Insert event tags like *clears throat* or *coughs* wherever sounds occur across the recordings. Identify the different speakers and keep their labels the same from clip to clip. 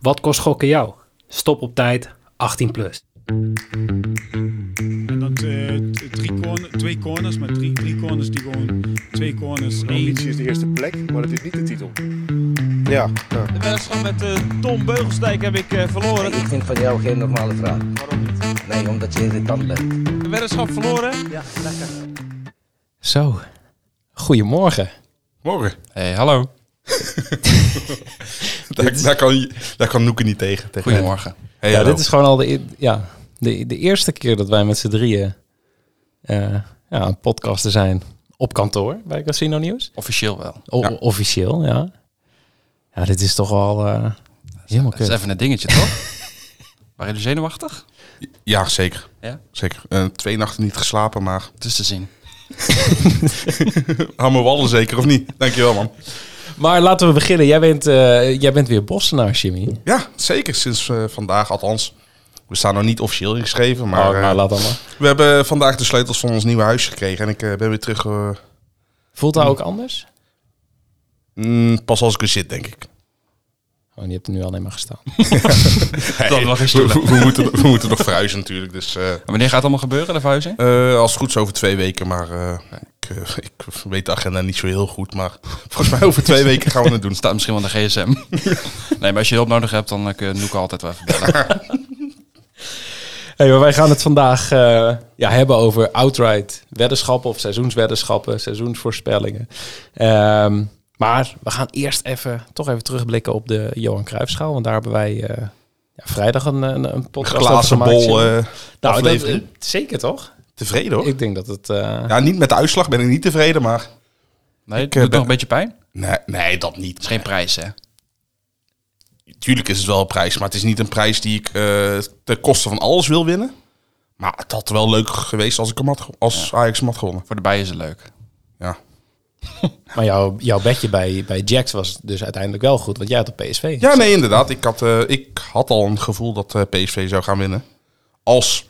Speaker 1: Wat kost gokken jou? Stop op tijd, 18 plus.
Speaker 2: En dat eh, t- drie corner, twee corners, maar drie, drie corners die gewoon twee corners.
Speaker 3: De
Speaker 2: één.
Speaker 3: ambitie is de eerste plek, maar het is niet de titel.
Speaker 4: Ja, ja.
Speaker 5: De wedstrijd met eh, Tom Beugelsdijk heb ik eh, verloren.
Speaker 6: Ik vind van jou geen normale vraag.
Speaker 5: Waarom niet?
Speaker 6: Nee, omdat je irritant bent.
Speaker 5: De wedstrijd verloren.
Speaker 7: Zo, goedemorgen.
Speaker 8: Morgen. hey, hallo. daar, daar kan, je- daar kan Noeke niet tegen. tegen
Speaker 7: Goedemorgen.
Speaker 8: Hey,
Speaker 7: ja,
Speaker 8: hallo.
Speaker 7: dit is gewoon al de, e- ja, de, de eerste keer dat wij met z'n drieën eh, ja, aan het podcasten zijn op kantoor bij Casino Nieuws.
Speaker 9: Officieel wel.
Speaker 8: Oh,
Speaker 7: O-
Speaker 9: Ja.
Speaker 7: Oh, Officieel, ja. Ja, dit is toch al eh, helemaal
Speaker 9: Dat is
Speaker 7: kut.
Speaker 9: even een dingetje, toch? *laughs* Waren jullie zenuwachtig?
Speaker 8: Ja, zeker.
Speaker 9: Ja?
Speaker 8: zeker. Eh, twee nachten niet geslapen, maar
Speaker 9: Het is te
Speaker 8: *laughs*
Speaker 9: zien.
Speaker 8: hou me wallen zeker, of niet? Dankjewel, man.
Speaker 7: Maar laten we beginnen. Jij bent, eh, jij bent weer Bossenaar, Jimmy.
Speaker 8: Ja, zeker. Sinds eh, vandaag, althans. We staan nog niet officieel ingeschreven, maar,
Speaker 7: Maar,
Speaker 8: eh,
Speaker 7: maar Oh, nou, laat allemaal.
Speaker 8: we hebben vandaag de sleutels van ons nieuwe huis gekregen. En ik eh, ben weer terug, eh,
Speaker 7: Voelt dat ook anders?
Speaker 8: mm, pas als ik er zit, denk ik.
Speaker 7: Oh, die hebt er nu alleen maar gestaan.
Speaker 9: Dan nog eens
Speaker 8: we, *laughs*
Speaker 9: stoelen.
Speaker 8: we- we moeten, we moeten nog verhuizen natuurlijk, dus... eh,
Speaker 9: En wanneer gaat het allemaal gebeuren, de verhuizing?
Speaker 8: Eh, als het goed is over twee weken, maar eh, ik, eh, ik weet de agenda niet zo heel goed. Maar volgens mij over twee weken gaan we het doen.
Speaker 9: Staat misschien wel in de
Speaker 8: *laughs*
Speaker 9: gsm. nee, maar als je hulp nodig hebt, dan eh, kun je Noeke altijd wel even bellen.
Speaker 7: Hey, maar wij gaan het vandaag eh, ja, hebben over outright weddenschappen of seizoensweddenschappen, seizoensvoorspellingen. Ehm, maar we gaan eerst even, toch even terugblikken op de Johan Cruijffschaal. Want daar hebben wij eh, ja, vrijdag een, een, een
Speaker 8: Een
Speaker 7: podcast over
Speaker 8: glazen
Speaker 7: gemaakt.
Speaker 8: bol
Speaker 7: Jim.
Speaker 8: eh,
Speaker 7: nou, dat,
Speaker 8: aflevering.
Speaker 7: eh, zeker toch?
Speaker 8: tevreden hoor.
Speaker 7: Ik denk dat het... eh,
Speaker 8: Ja, niet met de uitslag ben ik niet tevreden, maar...
Speaker 9: Nee, het
Speaker 8: eh,
Speaker 9: doet
Speaker 8: ben-
Speaker 9: nog een beetje pijn. Het
Speaker 8: Nee, nee dat niet.
Speaker 9: is geen prijs, hè?
Speaker 8: Tuurlijk is het wel een prijs, maar het is niet een prijs die ik eh ten koste van alles wil winnen. Maar het had wel leuk geweest als ik hem had, ge- als Ajax hem had gewonnen.
Speaker 9: Voor de bijen is het leuk.
Speaker 8: Ja.
Speaker 7: Maar jouw, jouw bedje bij, bij Jax was dus uiteindelijk wel goed, want jij had op PSV.
Speaker 8: Ja, nee, inderdaad. Ik had, eh, ik had al een gevoel dat eh, PSV zou gaan winnen. Als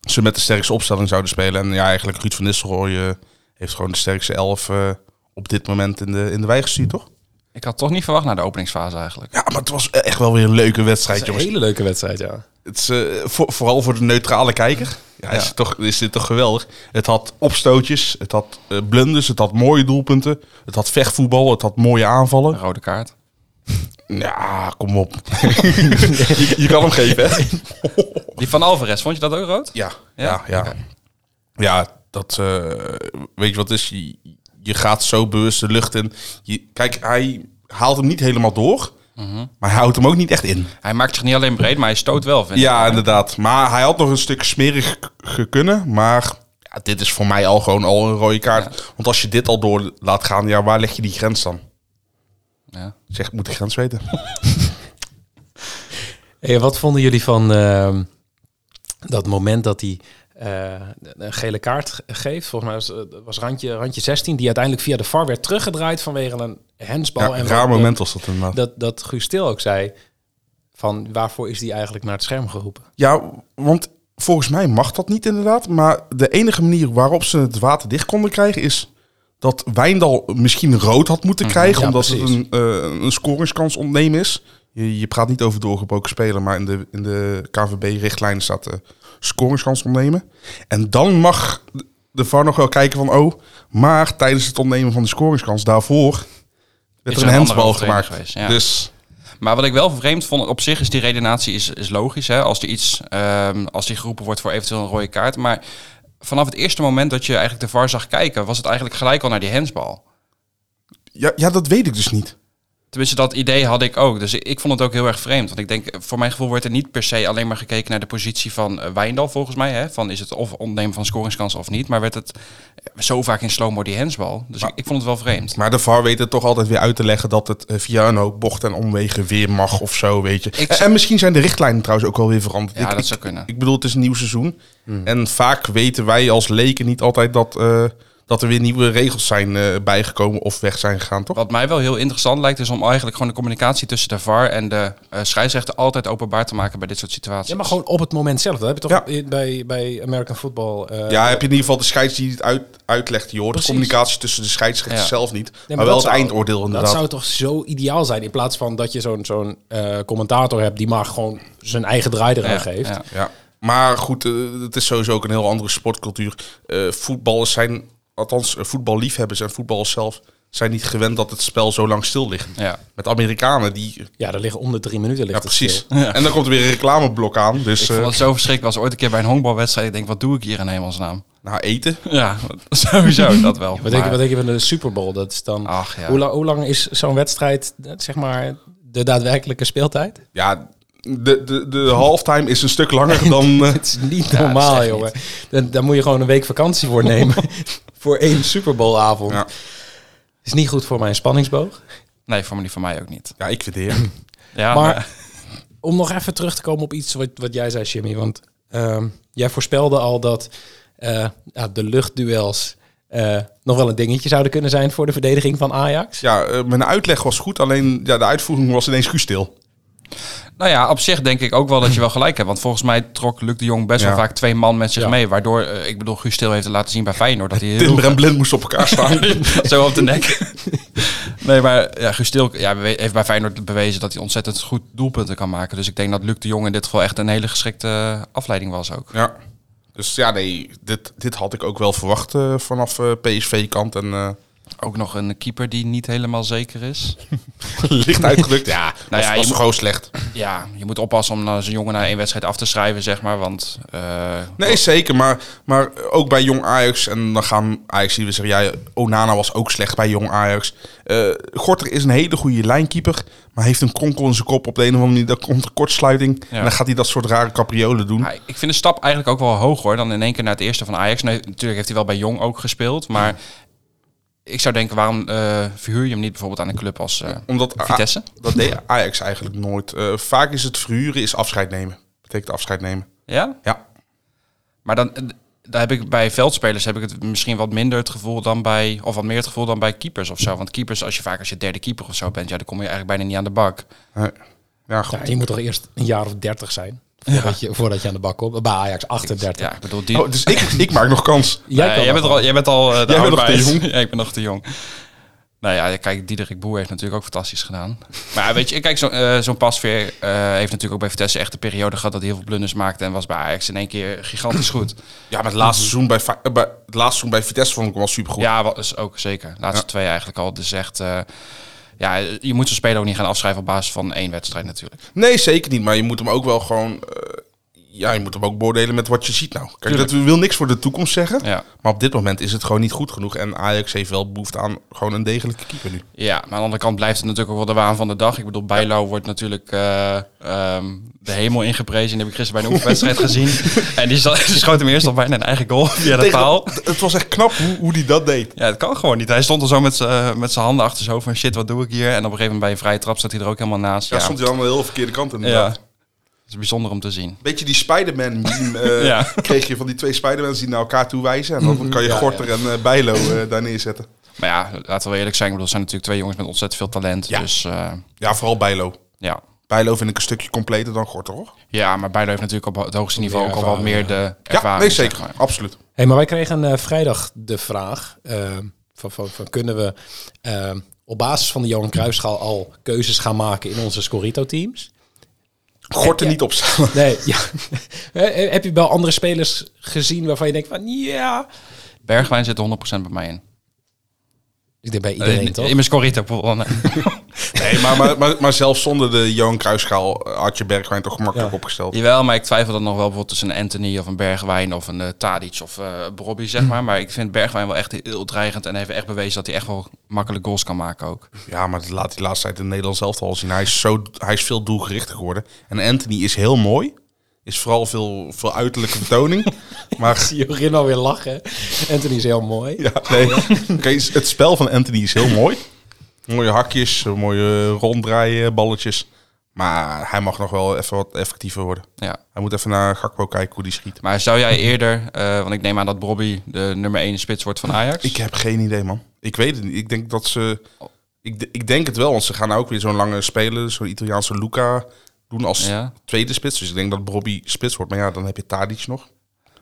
Speaker 8: ze met de sterkste opstelling zouden spelen. En ja, eigenlijk Ruud van Nistelrooy eh, heeft gewoon de sterkste elf eh, op dit moment in de, in de wei gestuurd, toch?
Speaker 9: Ik had toch niet verwacht naar de openingsfase eigenlijk.
Speaker 8: Ja, maar het was echt wel weer een leuke wedstrijd,
Speaker 7: Het is een
Speaker 8: jongens.
Speaker 7: hele leuke wedstrijd, ja.
Speaker 8: Het is, eh, voor, vooral voor de neutrale kijker. Ja, Is,
Speaker 9: Ja.
Speaker 8: het toch, is dit toch geweldig? Het had opstootjes, het had eh, blunders, het had mooie doelpunten. Het had vechtvoetbal, het had mooie aanvallen.
Speaker 9: Een rode kaart.
Speaker 8: Ja, kom op. *laughs* je, je kan hem geven, hè?
Speaker 9: Die van Alvarez, vond je dat ook rood?
Speaker 8: Ja,
Speaker 9: Ja?
Speaker 8: ja, ja.
Speaker 9: Oké.
Speaker 8: Ja, dat eh, weet je wat het is? Je, je gaat zo bewust de lucht in. Je, kijk, hij haalt hem niet helemaal door, maar hij houdt hem ook niet echt in.
Speaker 9: Hij maakt zich niet alleen breed, maar hij stoot wel, vind ik.
Speaker 8: Ja, inderdaad. Maar hij had nog een stuk smerig k- gekunnen, maar ja, dit is voor mij al gewoon al een rode kaart. Want als je dit al door laat gaan, ja, waar leg je die grens dan?
Speaker 9: Ja.
Speaker 8: Zeg, moet de grens weten.
Speaker 7: Hey, wat vonden jullie van ehm, dat moment dat hij eh, een gele kaart ge- geeft? Volgens mij was, eh, was randje, randje 16, die uiteindelijk via de VAR werd teruggedraaid vanwege een handsbal.
Speaker 8: Ja,
Speaker 7: en
Speaker 8: een raar
Speaker 7: wat-
Speaker 8: moment was dat inderdaad.
Speaker 7: Dat, dat Guus Til ook zei, van waarvoor is die eigenlijk naar het scherm geroepen?
Speaker 8: Ja, want volgens mij mag dat niet inderdaad. Maar de enige manier waarop ze het water dicht konden krijgen is dat Wijndal misschien rood had moeten krijgen.
Speaker 7: ja,
Speaker 8: omdat
Speaker 7: precies.
Speaker 8: het een, eh, een scoringskans ontnemen is. Je, je praat niet over doorgebroken spelen, maar in de, in de KVB-richtlijnen staat eh scoringskans ontnemen. En dan mag de VAR nog wel kijken van, oh, maar tijdens het ontnemen van de scoringskans daarvoor
Speaker 9: Is
Speaker 8: werd er
Speaker 9: er
Speaker 8: een
Speaker 9: een
Speaker 8: handsbal
Speaker 9: andere
Speaker 8: gemaakt.
Speaker 9: overtreding geweest, ja.
Speaker 8: Dus
Speaker 9: Maar wat ik wel vreemd vond, op zich is die redenatie is, is logisch. Hè? Als, er iets, ehm, als die geroepen wordt voor eventueel een rode kaart. Maar vanaf het eerste moment dat je eigenlijk de VAR zag kijken, was het eigenlijk gelijk al naar die handsbal.
Speaker 8: ja, ja, dat weet ik dus niet.
Speaker 9: Tenminste, dat idee had ik ook. Dus ik, ik vond het ook heel erg vreemd. Want ik denk, voor mijn gevoel wordt er niet per se alleen maar gekeken naar de positie van eh, Wijndal, volgens mij. Hè? Van is het of ontnemen van scoringskansen of niet. Maar werd het eh, zo vaak in slow-mo die handsbal. Dus ik, ik vond het wel vreemd.
Speaker 8: Maar de VAR weet het toch altijd weer uit te leggen dat het eh, via een hoop bochten en omwegen weer mag of zo, weet je.
Speaker 9: Ik-
Speaker 8: en, en misschien zijn de richtlijnen trouwens ook alweer veranderd.
Speaker 9: Ja,
Speaker 8: ik,
Speaker 9: dat
Speaker 8: ik,
Speaker 9: zou kunnen.
Speaker 8: ik bedoel, het is een nieuw seizoen. En vaak weten wij als leken niet altijd dat, eh, dat er weer nieuwe regels zijn eh, bijgekomen of weg zijn gegaan, toch?
Speaker 9: Wat mij wel heel interessant lijkt, is om eigenlijk gewoon de communicatie tussen de VAR en de eh, scheidsrechter altijd openbaar te maken bij dit soort situaties.
Speaker 7: Ja, maar gewoon op het moment zelf. Dat heb je toch
Speaker 8: Ja.
Speaker 7: in- bij, bij American Football. eh,
Speaker 8: ja, heb je in ieder geval de scheids die het uit, uitlegt. Je hoort
Speaker 7: Precies.
Speaker 8: de communicatie tussen de scheidsrechter
Speaker 9: Ja.
Speaker 8: zelf niet, maar,
Speaker 7: dat
Speaker 8: wel het
Speaker 7: zou-
Speaker 8: eindoordeel
Speaker 7: Dat
Speaker 8: inderdaad.
Speaker 7: zou toch zo ideaal zijn. In plaats van dat je zo'n zo'n eh, commentator hebt die maar gewoon zijn eigen draai eraan
Speaker 9: Ja,
Speaker 7: geeft.
Speaker 9: ja.
Speaker 8: Ja. Maar goed, eh, het is sowieso ook een heel andere sportcultuur. Eh, voetballers zijn, althans eh, voetballiefhebbers en voetballers zelf, zijn niet gewend dat het spel zo lang stil ligt.
Speaker 9: Ja.
Speaker 8: Met Amerikanen die...
Speaker 7: Ja, daar liggen om de drie minuten. Ligt
Speaker 8: Ja,
Speaker 7: het stil.
Speaker 8: precies. En dan komt er weer een reclameblok aan. Dus
Speaker 9: Ik vond
Speaker 8: eh,
Speaker 9: het zo verschrikkelijk als ooit een keer bij een honkbalwedstrijd. Ik denk, wat doe ik hier in hemelsnaam? *laughs*
Speaker 8: nou, eten.
Speaker 9: Ja, *laughs* sowieso, dat wel.
Speaker 7: Wat denk, je,
Speaker 9: Maar-
Speaker 7: wat denk je van de Super Bowl? Dat is dan.
Speaker 9: Ach ja.
Speaker 7: Hoe, la- hoe lang is zo'n wedstrijd, eh, zeg maar, de daadwerkelijke speeltijd? *laughs*
Speaker 8: Ja, de, de, de halftime is een stuk langer dan... eh,
Speaker 7: Het is niet
Speaker 9: Ja,
Speaker 7: normaal,
Speaker 9: dat is echt
Speaker 7: jongen. Dan, daar moet je gewoon een week vakantie
Speaker 9: *laughs*
Speaker 7: voor nemen. *laughs* voor één Super Bowl avond.
Speaker 8: Ja.
Speaker 7: Is niet goed voor mijn spanningsboog.
Speaker 9: Nee, voor, me, niet, voor mij ook niet.
Speaker 8: ja, ik vind het heerlijk.
Speaker 9: Ja,
Speaker 7: Maar-
Speaker 9: maar-
Speaker 7: Om nog even terug te komen op iets wat, wat jij zei, Jimmy. Want ehm, jij voorspelde al dat eh, ja, de luchtduels eh, nog wel een dingetje zouden kunnen zijn voor de verdediging van Ajax.
Speaker 8: Ja, eh, mijn uitleg was goed, alleen ja, de uitvoering was ineens stil.
Speaker 9: nou ja, op zich denk ik ook wel dat je wel gelijk hebt. Want volgens mij trok Luc de Jong best wel
Speaker 8: Ja.
Speaker 9: vaak twee man met zich
Speaker 7: Ja.
Speaker 9: mee. Waardoor, eh, ik bedoel, Guus Til heeft het laten zien bij Feyenoord. Dat hij heel
Speaker 8: Timber en Blind moesten op elkaar staan.
Speaker 9: *laughs* Zo op de nek. nee, maar ja, Gustil ja, bewe- heeft bij Feyenoord bewezen dat hij ontzettend goed doelpunten kan maken. Dus ik denk dat Luc de Jong in dit geval echt een hele geschikte afleiding was ook.
Speaker 8: Ja. Dus ja, nee, dit, dit had ik ook wel verwacht eh, vanaf PSV-kant. En
Speaker 9: *laughs*
Speaker 8: eh,
Speaker 9: Ook nog een keeper die niet helemaal zeker is.
Speaker 8: licht uitgedrukt, ja, nou was,
Speaker 9: ja,
Speaker 8: ja,
Speaker 9: je
Speaker 8: was
Speaker 9: moet-
Speaker 8: gewoon slecht.
Speaker 9: Ja, je moet oppassen om eh, zo'n jongen na één wedstrijd af te schrijven, zeg maar. Want eh,
Speaker 8: Nee, zeker, maar, maar ook bij Jong Ajax. En dan gaan Ajax hier weer zeggen, ja, Onana was ook slecht bij Jong Ajax. Eh Gorter is een hele goede lijnkeeper, maar heeft een kronkel in zijn kop op de een of andere manier. Dat komt een kortsluiting
Speaker 9: Ja.
Speaker 8: en dan gaat hij dat soort rare capriolen doen.
Speaker 9: Ja, ik vind de stap eigenlijk ook wel hoog hoor. Dan in één keer naar het eerste van Ajax. Nee, natuurlijk heeft hij wel bij Jong ook gespeeld. Maar ik zou denken, waarom eh, verhuur je hem niet bijvoorbeeld aan een club als eh,
Speaker 8: Omdat A-
Speaker 9: Vitesse?
Speaker 8: dat deed Ajax eigenlijk nooit. Eh, vaak is het verhuren is afscheid nemen. Betekent afscheid nemen.
Speaker 9: Ja?
Speaker 8: Ja.
Speaker 9: Maar dan, eh, daar heb ik bij veldspelers heb ik het misschien wat minder het gevoel dan bij, of wat meer het gevoel dan bij keepers of zo. Want keepers, als je vaak als je derde keeper of zo bent, ja, dan kom je eigenlijk bijna niet aan de bak.
Speaker 8: Eh, Ja, goed.
Speaker 7: Ja, je moet toch eerst een jaar of dertig zijn voordat, je, voordat je aan de bak komt. Bij Ajax 38.
Speaker 9: Ja, ik bedoel, die,
Speaker 8: Oh, dus ik, ik maak nog kans.
Speaker 7: Jij,
Speaker 9: Nee,
Speaker 7: kan
Speaker 9: jij,
Speaker 7: dat
Speaker 9: bent er al, jij bent al eh, de
Speaker 8: Jij bent nog te
Speaker 9: oudbaas.
Speaker 8: jong.
Speaker 9: *laughs* Ja, ik ben nog te jong. Nou ja, kijk, Diederik Boer heeft natuurlijk ook fantastisch gedaan. Maar ja, weet je, kijk, zo'n eh, zo'n pasveer eh, heeft natuurlijk ook bij Vitesse echt een periode gehad dat hij heel veel blunders maakte en was bij Ajax in één keer gigantisch goed.
Speaker 8: Ja, maar het laatste seizoen bij, Fa- eh, bij, het laatste seizoen bij Vitesse vond ik hem wel supergoed.
Speaker 9: Ja, wat is ook zeker. Laatste twee eigenlijk al. Dus echt, eh, ja, je moet zo'n speler ook niet gaan afschrijven op basis van één wedstrijd natuurlijk.
Speaker 8: Nee, zeker niet. Maar je moet hem ook wel gewoon... eh, ja, je moet hem ook beoordelen met wat je ziet nou. Kijk, dat wil niks voor de toekomst zeggen.
Speaker 9: Ja.
Speaker 8: Maar op dit moment is het gewoon niet goed genoeg. En Ajax heeft wel behoefte aan gewoon een degelijke keeper nu.
Speaker 9: Ja, maar aan de andere kant blijft het natuurlijk ook wel de waan van de dag. Ik bedoel, Bijlo wordt natuurlijk eh, ehm, de hemel ingeprezen. En die heb ik gisteren bij een oefenwedstrijd *laughs* gezien. En die, zat, die schoot hem eerst al bijna een eigen goal via de
Speaker 8: Tegen-
Speaker 9: paal.
Speaker 8: Het was echt knap hoe, hoe die dat deed.
Speaker 9: Ja, dat kan gewoon niet. Hij stond al zo met z'n- eh, met zijn handen achter zijn hoofd van shit, wat doe ik hier? En op een gegeven moment bij een vrije trap staat hij er ook helemaal naast.
Speaker 8: Ja,
Speaker 9: Ja,
Speaker 8: stond hij dan aan de heel verkeerde kant
Speaker 9: ja.
Speaker 8: inderdaad.
Speaker 9: Het is bijzonder om te zien.
Speaker 8: Beetje die Spider-Man meme *laughs* eh,
Speaker 9: Ja.
Speaker 8: kreeg je van die twee Spider-Mans die naar elkaar toe wijzen. En dan kan je Gorter en eh, Bijlo eh, daar neerzetten.
Speaker 9: Maar ja, laten we wel eerlijk zijn. Ik bedoel, het zijn natuurlijk twee jongens met ontzettend veel talent.
Speaker 8: Ja.
Speaker 9: Dus eh,
Speaker 8: Ja, vooral Bijlo.
Speaker 9: ja.
Speaker 8: Bijlo vind ik een stukje completer dan Gorter, hoor.
Speaker 9: Ja, maar Bijlo heeft natuurlijk op het hoogste niveau ook al wat meer de ervaring.
Speaker 8: Ja, nee,
Speaker 9: zeg
Speaker 8: zeker.
Speaker 9: maar.
Speaker 8: Absoluut.
Speaker 7: Hey, maar wij kregen eh, vrijdag de vraag eh, van, van, van kunnen we eh, op basis van de Johan Cruijffschaal al keuzes gaan maken in onze Scorito-teams?
Speaker 8: Gorter niet opstellen.
Speaker 7: Nee, *laughs* ja. Eh, eh, Heb je wel andere spelers gezien waarvan je denkt van ja...
Speaker 9: Bergwijn zit er 100% bij mij in.
Speaker 7: Ik denk bij iedereen,
Speaker 9: Eh, in,
Speaker 7: toch? *laughs*
Speaker 9: in mijn scorito
Speaker 8: Nee, maar, maar, maar, maar zelfs zonder de Johan Kruisschaal had je Bergwijn toch gemakkelijk
Speaker 9: *laughs*
Speaker 8: opgesteld.
Speaker 9: Jawel, maar ik twijfel dan nog wel bijvoorbeeld tussen een Anthony of een Bergwijn of een eh, Tadic of eh Brobby, zeg maar. Maar ik vind Bergwijn wel echt heel dreigend en heeft echt bewezen dat hij echt wel makkelijk goals kan maken ook.
Speaker 8: Ja, maar dat laat die laatste tijd in Nederland zelf al zien. Hij is, zo, hij is veel doelgerichter geworden. En Anthony is heel mooi. Is vooral veel, veel uiterlijke vertoning. maar
Speaker 7: Jorin alweer lachen. Anthony is heel
Speaker 9: *laughs*
Speaker 7: mooi.
Speaker 8: *laughs* ja, nee. Oké, het spel van Anthony is heel mooi. Mooie hakjes, mooie ronddraaien, balletjes. Maar hij mag nog wel even wat effectiever worden.
Speaker 9: Ja.
Speaker 8: Hij moet even naar Gakpo kijken hoe die schiet.
Speaker 9: Maar zou jij eerder, eh, want ik neem aan dat Bobby de nummer 1 spits wordt van Ajax.
Speaker 8: Ik heb geen idee, man. Ik weet het niet. Ik denk dat ze...
Speaker 7: Oh.
Speaker 8: Ik, ik denk het wel, want ze gaan nou ook weer zo'n lange speler, zo'n Italiaanse Luca, doen als
Speaker 9: Ja.
Speaker 8: tweede spits. Dus ik denk dat Bobby spits wordt. Maar ja, dan heb je Tadic nog.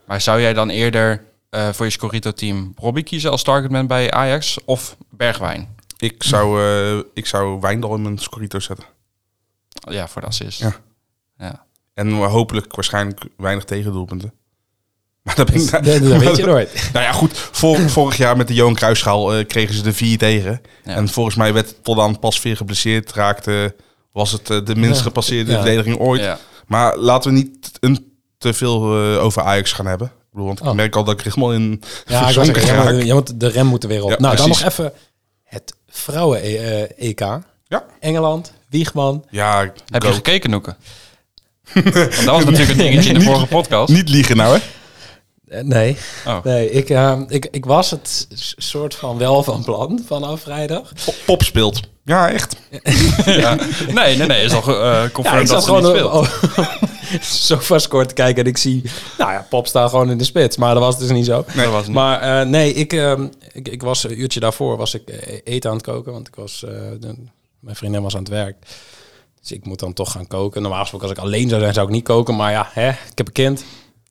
Speaker 9: Maar zou jij dan eerder eh, voor je Scorito-team Bobby kiezen als targetman bij Ajax of Bergwijn?
Speaker 8: Ik zou, eh, ik zou Wijndal in mijn scorito zetten.
Speaker 9: Ja, voor de assist.
Speaker 8: Ja.
Speaker 9: Ja.
Speaker 8: En hopelijk waarschijnlijk weinig tegendoelpunten. *laughs* Maar dat ben ik...
Speaker 7: Dat, dat weet je nooit.
Speaker 8: *laughs* Nou ja, goed. Vor, vorig jaar met de Johan Cruijffschaal eh, kregen ze de vier tegen.
Speaker 9: Ja.
Speaker 8: En volgens mij werd tot aan pas weer geblesseerd raakte... was het eh, de minst
Speaker 7: Ja.
Speaker 8: gepasseerde
Speaker 7: Ja.
Speaker 8: verdediging ooit.
Speaker 9: Ja.
Speaker 8: Maar laten we niet een, te veel eh, over Ajax gaan hebben. Ik bedoel, want ik
Speaker 7: Oh.
Speaker 8: merk al dat ik er helemaal in
Speaker 7: Ja, ik wou
Speaker 8: verzonken
Speaker 7: zeggen, ja, maar
Speaker 8: raak.
Speaker 7: de- ja, want de rem moet er weer op.
Speaker 8: Ja,
Speaker 7: nou,
Speaker 8: precies.
Speaker 7: dan nog even het vrouwen-EK.
Speaker 8: Ja.
Speaker 7: Engeland, Wiegman.
Speaker 8: Ja,
Speaker 9: Heb
Speaker 8: go.
Speaker 9: je gekeken,
Speaker 7: *laughs*
Speaker 9: Noeke? Want dat was natuurlijk een dingetje in de
Speaker 8: Niet-
Speaker 9: vorige podcast.
Speaker 8: niet liegen nou, hè?
Speaker 7: Eh, nee,
Speaker 9: Oh.
Speaker 7: nee ik, eh, ik, ik was het s- soort van wel van plan vanaf vrijdag.
Speaker 8: Pop, pop speelt. Ja, echt.
Speaker 9: Ja. Nee, nee, nee. Is al eh confirmed
Speaker 7: Ja,
Speaker 9: dat
Speaker 7: ik zat
Speaker 9: ze niet
Speaker 7: gewoon oh.
Speaker 9: speelt.
Speaker 7: *laughs* zo vast kort te kijken en ik zie, nou ja, Pop staat gewoon in de spits. Maar dat was dus niet zo.
Speaker 9: Dat was het niet.
Speaker 7: Maar eh, nee, ik, ehm, ik, ik was een uurtje daarvoor was ik eh, eten aan het koken, want ik was, eh, de- mijn vriendin was aan het werk. Dus ik moet dan toch gaan koken. Normaal gesproken, als ik alleen zou zijn, zou ik niet koken. Maar ja, hè, ik heb een kind,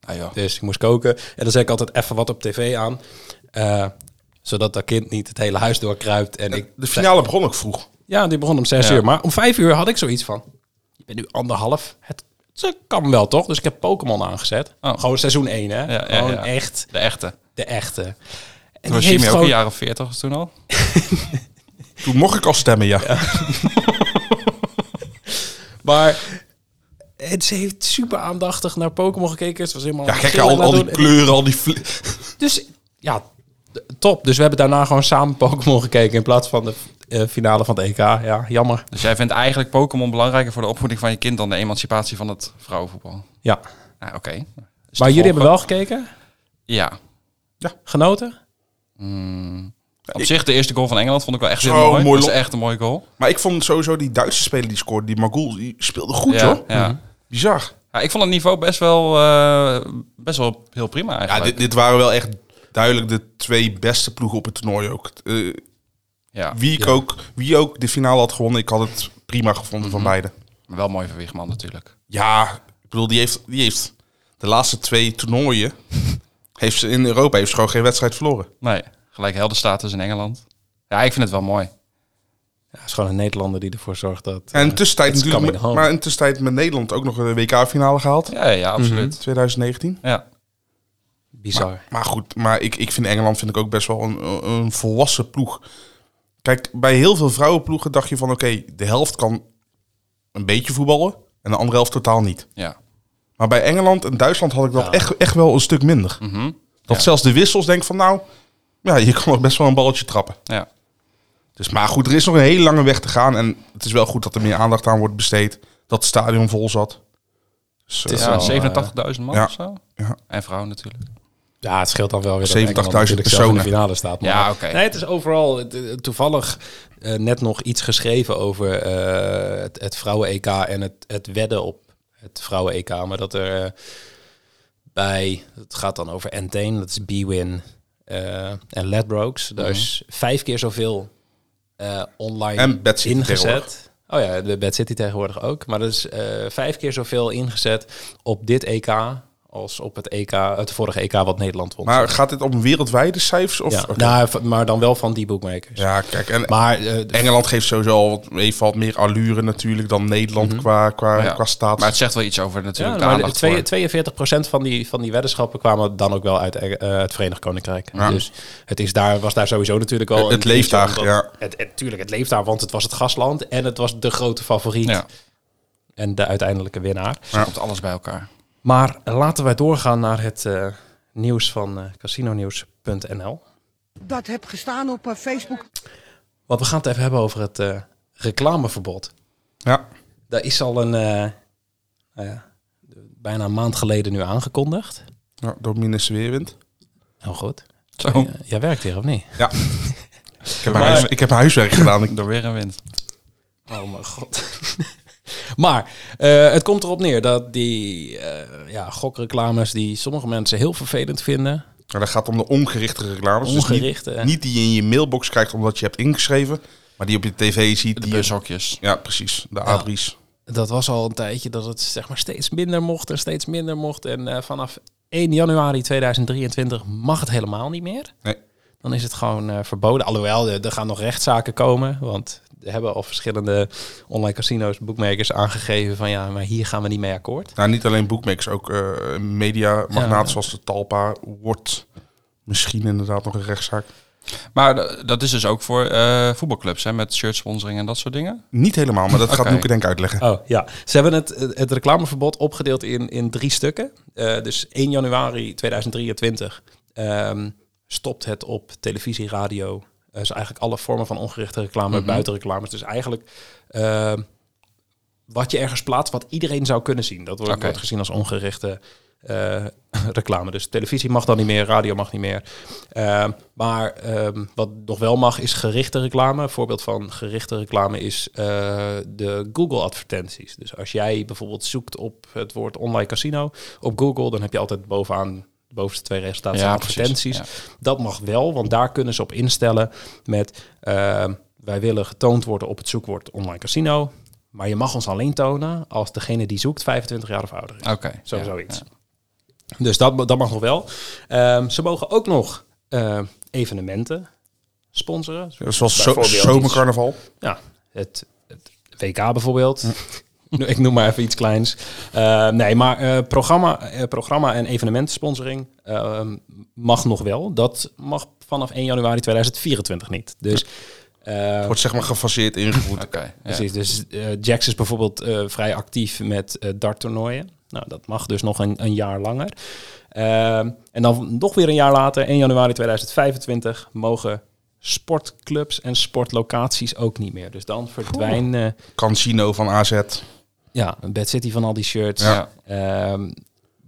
Speaker 9: Ah, joh.
Speaker 7: dus ik moest koken. En dan zet ik altijd even wat op tv aan. eh, zodat dat kind niet het hele huis doorkruipt. En ik,
Speaker 8: De finale begon ook vroeg.
Speaker 7: ja, die begon om zes
Speaker 9: Ja.
Speaker 7: uur. Maar om vijf uur had ik zoiets van... Ik ben nu anderhalf. Het, het kan wel, toch? Dus ik heb Pokémon aangezet.
Speaker 9: Oh.
Speaker 7: Gewoon seizoen 1, hè?
Speaker 9: Ja, ja,
Speaker 7: gewoon
Speaker 9: ja.
Speaker 7: echt
Speaker 9: De echte.
Speaker 7: de echte. En
Speaker 9: Toen was
Speaker 7: die heeft
Speaker 9: Jimmy ook
Speaker 7: gewoon-
Speaker 9: een jaar of veertig toen al.
Speaker 8: Toen mocht ik al stemmen, ja.
Speaker 7: Maar... En ze heeft super aandachtig naar Pokémon gekeken. Ze was helemaal...
Speaker 8: Ja,
Speaker 7: aan het
Speaker 8: gek,
Speaker 7: gillen
Speaker 8: al, al die
Speaker 7: daardoor. En ik-
Speaker 8: kleuren, al die... fli-
Speaker 7: Dus ja, d- top. Dus we hebben daarna gewoon samen Pokémon gekeken... in plaats van de eh, finale van het EK. Ja, jammer.
Speaker 9: Dus jij vindt eigenlijk Pokémon belangrijker voor de opvoeding van je kind dan de emancipatie van het vrouwenvoetbal.
Speaker 7: Ja.
Speaker 9: Nou, oké. Is te
Speaker 7: Maar jullie
Speaker 9: volgen.
Speaker 7: hebben wel gekeken?
Speaker 9: Ja.
Speaker 7: Genoten?
Speaker 9: Op zich, de eerste goal van Engeland vond ik wel echt heel
Speaker 8: Zo
Speaker 9: mooi.
Speaker 8: mooi
Speaker 9: dat is
Speaker 8: lo-
Speaker 9: echt een mooie goal.
Speaker 8: Maar ik vond sowieso die Duitse speler die scoorde, die Magul, die speelde goed,
Speaker 9: ja,
Speaker 8: hoor.
Speaker 9: ja.
Speaker 7: Mhm.
Speaker 8: Bizar.
Speaker 9: Ja, ik vond het niveau best wel, eh, best wel heel prima
Speaker 8: Ja,
Speaker 9: eigenlijk.
Speaker 8: dit, dit waren wel echt duidelijk de twee beste ploegen op het toernooi ook. Eh,
Speaker 9: Ja,
Speaker 8: wie, ik ook wie ook de finale had gewonnen, ik had het prima gevonden van beide.
Speaker 9: maar wel mooi voor Wiegman natuurlijk.
Speaker 8: Ja, ik bedoel, die heeft, die heeft de laatste twee toernooien *laughs* heeft ze in Europa heeft ze gewoon geen wedstrijd verloren.
Speaker 9: Nee, gelijk heldenstatus in Engeland. Ja, ik vind het wel mooi.
Speaker 7: Ja, het is gewoon een Nederlander die ervoor zorgt dat...
Speaker 8: En in de tussentijd
Speaker 7: It's
Speaker 8: natuurlijk,
Speaker 7: coming
Speaker 8: met-
Speaker 7: home.
Speaker 8: maar in de tussentijd met Nederland ook nog de WK-finale gehaald.
Speaker 9: Ja, ja, absoluut.
Speaker 8: 2019.
Speaker 9: Mhm. Ja.
Speaker 7: Bizar.
Speaker 8: Maar goed, maar ik, ik vind Engeland vind ik ook best wel een, een volwassen ploeg. Kijk, bij heel veel vrouwenploegen dacht je van oké, de helft kan een beetje voetballen en de andere helft totaal niet.
Speaker 9: ja.
Speaker 8: Maar bij Engeland en Duitsland had ik dat echt, echt wel een stuk minder.
Speaker 9: Mhm.
Speaker 8: Dat
Speaker 9: Ja.
Speaker 8: zelfs de wissels denk van nou, ja, je kan nog best wel een balletje trappen.
Speaker 9: Ja.
Speaker 8: Dus maar goed, er is nog een hele lange weg te gaan en het is wel goed dat er meer aandacht aan wordt besteed. Dat het stadion vol zat. Dus,
Speaker 7: Het is
Speaker 8: eh,
Speaker 9: Ja,
Speaker 7: wel,
Speaker 9: 87.000 man
Speaker 8: ja.
Speaker 9: of zo.
Speaker 8: Ja.
Speaker 9: En vrouwen natuurlijk.
Speaker 7: Ja, het scheelt dan wel weer dat
Speaker 8: 70.000
Speaker 7: Engeland natuurlijk zelf in de
Speaker 8: personen.
Speaker 7: finale staat. Maar
Speaker 9: Ja, oké.
Speaker 7: Nee, het is overal het- het- toevallig eh, net nog iets geschreven over eh, het, het vrouwen-EK en het, het wedden op het vrouwen-EK. Maar dat er eh, bij, het gaat dan over Entain, dat is B-Win eh, en Ladbrokes.
Speaker 8: Mhm.
Speaker 7: Daar is vijf keer zoveel eh, online
Speaker 8: En Bad City tegenwoordig.
Speaker 7: ingezet. Oh ja, de Bad City tegenwoordig ook. Maar dat is eh, vijf keer zoveel ingezet op dit EK als op het EK, het vorige EK wat Nederland won.
Speaker 8: Maar gaat dit om wereldwijde cijfers? Of,
Speaker 7: ja,
Speaker 8: Oké.
Speaker 7: nou, v- maar dan wel van die bookmakers.
Speaker 8: ja kijk, en
Speaker 7: Maar eh,
Speaker 8: De- Engeland geeft sowieso al wat, even wat meer allure natuurlijk dan Nederland
Speaker 7: Mhm.
Speaker 8: qua, qua,
Speaker 9: Ja.
Speaker 8: qua staat.
Speaker 9: Maar het zegt wel iets over
Speaker 7: ja,
Speaker 9: natuurlijk de
Speaker 7: maar de
Speaker 9: aandacht voor.
Speaker 7: twee- 42% van die, van die weddenschappen kwamen dan ook wel uit eh, eh, het Verenigd Koninkrijk.
Speaker 8: Ja.
Speaker 7: Dus het is daar, was daar sowieso natuurlijk wel...
Speaker 8: Het- het
Speaker 7: een dingetje,
Speaker 8: leeft daar,
Speaker 7: omdat-
Speaker 8: ja.
Speaker 7: Het, het, tuurlijk, het leeft daar, want het was het gastland en het was de grote favoriet.
Speaker 9: Ja,
Speaker 7: En de uiteindelijke winnaar.
Speaker 9: dus er komt alles bij elkaar.
Speaker 7: Maar laten wij doorgaan naar het eh, nieuws van eh, casinonieuws.nl.
Speaker 10: Dat heb gestaan op eh, Facebook.
Speaker 7: Want we gaan het even hebben over het eh, reclameverbod.
Speaker 8: ja.
Speaker 7: Daar is al een, eh, nou ja, bijna een maand geleden nu aangekondigd.
Speaker 8: Ja, door minister Weerwind.
Speaker 7: Heel goed.
Speaker 9: Zo,
Speaker 7: Oh, Ja, jij werkt hier of niet?
Speaker 8: Ik heb, mijn huis, ik heb mijn huiswerk gedaan. Ik,
Speaker 9: door weer een wind.
Speaker 7: Oh mijn god. *laughs* Maar eh, het komt erop neer dat die eh, ja, gokreclames die sommige mensen heel vervelend vinden.
Speaker 8: Maar nou, dat gaat om de ongerichte reclames.
Speaker 7: Ongerichte,
Speaker 8: Dus
Speaker 7: hè.
Speaker 8: niet, niet die je in je mailbox krijgt omdat je hebt ingeschreven, maar die op je tv ziet.
Speaker 9: De
Speaker 8: die-
Speaker 9: bushokjes.
Speaker 8: Ja, precies. De abris.
Speaker 7: Dat was al een tijdje dat het zeg maar, steeds minder mocht en steeds minder mocht. En eh, vanaf 1 januari 2023 mag het helemaal niet meer.
Speaker 8: Nee.
Speaker 7: Dan is het gewoon eh, verboden. Alhoewel, er er gaan nog rechtszaken komen. Want er hebben al verschillende online casino's, boekmakers aangegeven van ja, maar hier gaan we niet mee akkoord.
Speaker 8: Nou, niet alleen bookmakers, ook eh media
Speaker 7: Ja.
Speaker 8: zoals de Talpa wordt misschien inderdaad nog een rechtszaak.
Speaker 9: Maar eh, dat is dus ook voor eh, voetbalclubs, hè, met shirt sponsoring en dat soort dingen.
Speaker 8: Niet helemaal, maar dat gaat
Speaker 9: Oké.
Speaker 8: Noeke denk ik uitleggen.
Speaker 7: Oh ja, ze hebben het, het reclameverbod opgedeeld in, in drie stukken. Eh, dus 1 januari 2023 ehm, stopt het op televisie, radio. Eh, dus eigenlijk alle vormen van ongerichte reclame, buitenreclames. Dus eigenlijk eh, wat je ergens plaatst, wat iedereen zou kunnen zien. Dat wordt,
Speaker 9: Oké.
Speaker 7: wordt gezien als ongerichte eh, *coughs* reclame. Dus televisie mag dan niet meer, radio mag niet meer. Ehm, maar ehm, wat nog wel mag is gerichte reclame. Een voorbeeld van gerichte reclame is eh, de Google advertenties. Dus als jij bijvoorbeeld zoekt op het woord online casino op Google, dan heb je altijd bovenaan de bovenste twee resultaten
Speaker 9: Ja,
Speaker 7: zijn
Speaker 9: precies.
Speaker 7: advertenties.
Speaker 9: Ja.
Speaker 7: Dat mag wel, want daar kunnen ze op instellen met ehm, wij willen getoond worden op het zoekwoord online casino. Maar je mag ons alleen tonen als degene die zoekt 25 jaar of ouder is.
Speaker 9: Oké.
Speaker 7: Zo,
Speaker 9: ja.
Speaker 7: zoiets.
Speaker 9: Ja.
Speaker 7: Dus dat, dat mag nog wel. Ehm, ze mogen ook nog eh, evenementen sponsoren.
Speaker 8: Zoals zo,
Speaker 4: Bijvoorbeeld
Speaker 8: zomercarnaval.
Speaker 7: Ja, het, het WK bijvoorbeeld. Nu, *laughs* Ik noem maar even iets kleins. Eh, nee, maar eh, programma, eh, programma en evenementsponsoring ehm, mag nog wel. Dat mag vanaf 1 januari 2024 niet. Dus eh,
Speaker 8: Wordt zeg maar gefaseerd ingevoerd.
Speaker 9: Oké, ja.
Speaker 7: Precies, dus eh, Jax is bijvoorbeeld eh, vrij actief met eh darttoernooien. Nou, dat mag dus nog een, een jaar langer. Ehm, en dan nog weer een jaar later, 1 januari 2025, mogen sportclubs en sportlocaties ook niet meer. Dus dan verdwijnen
Speaker 8: Cancino van AZ.
Speaker 7: ja, Bad City van al die shirts.
Speaker 9: Ja.
Speaker 7: Ehm,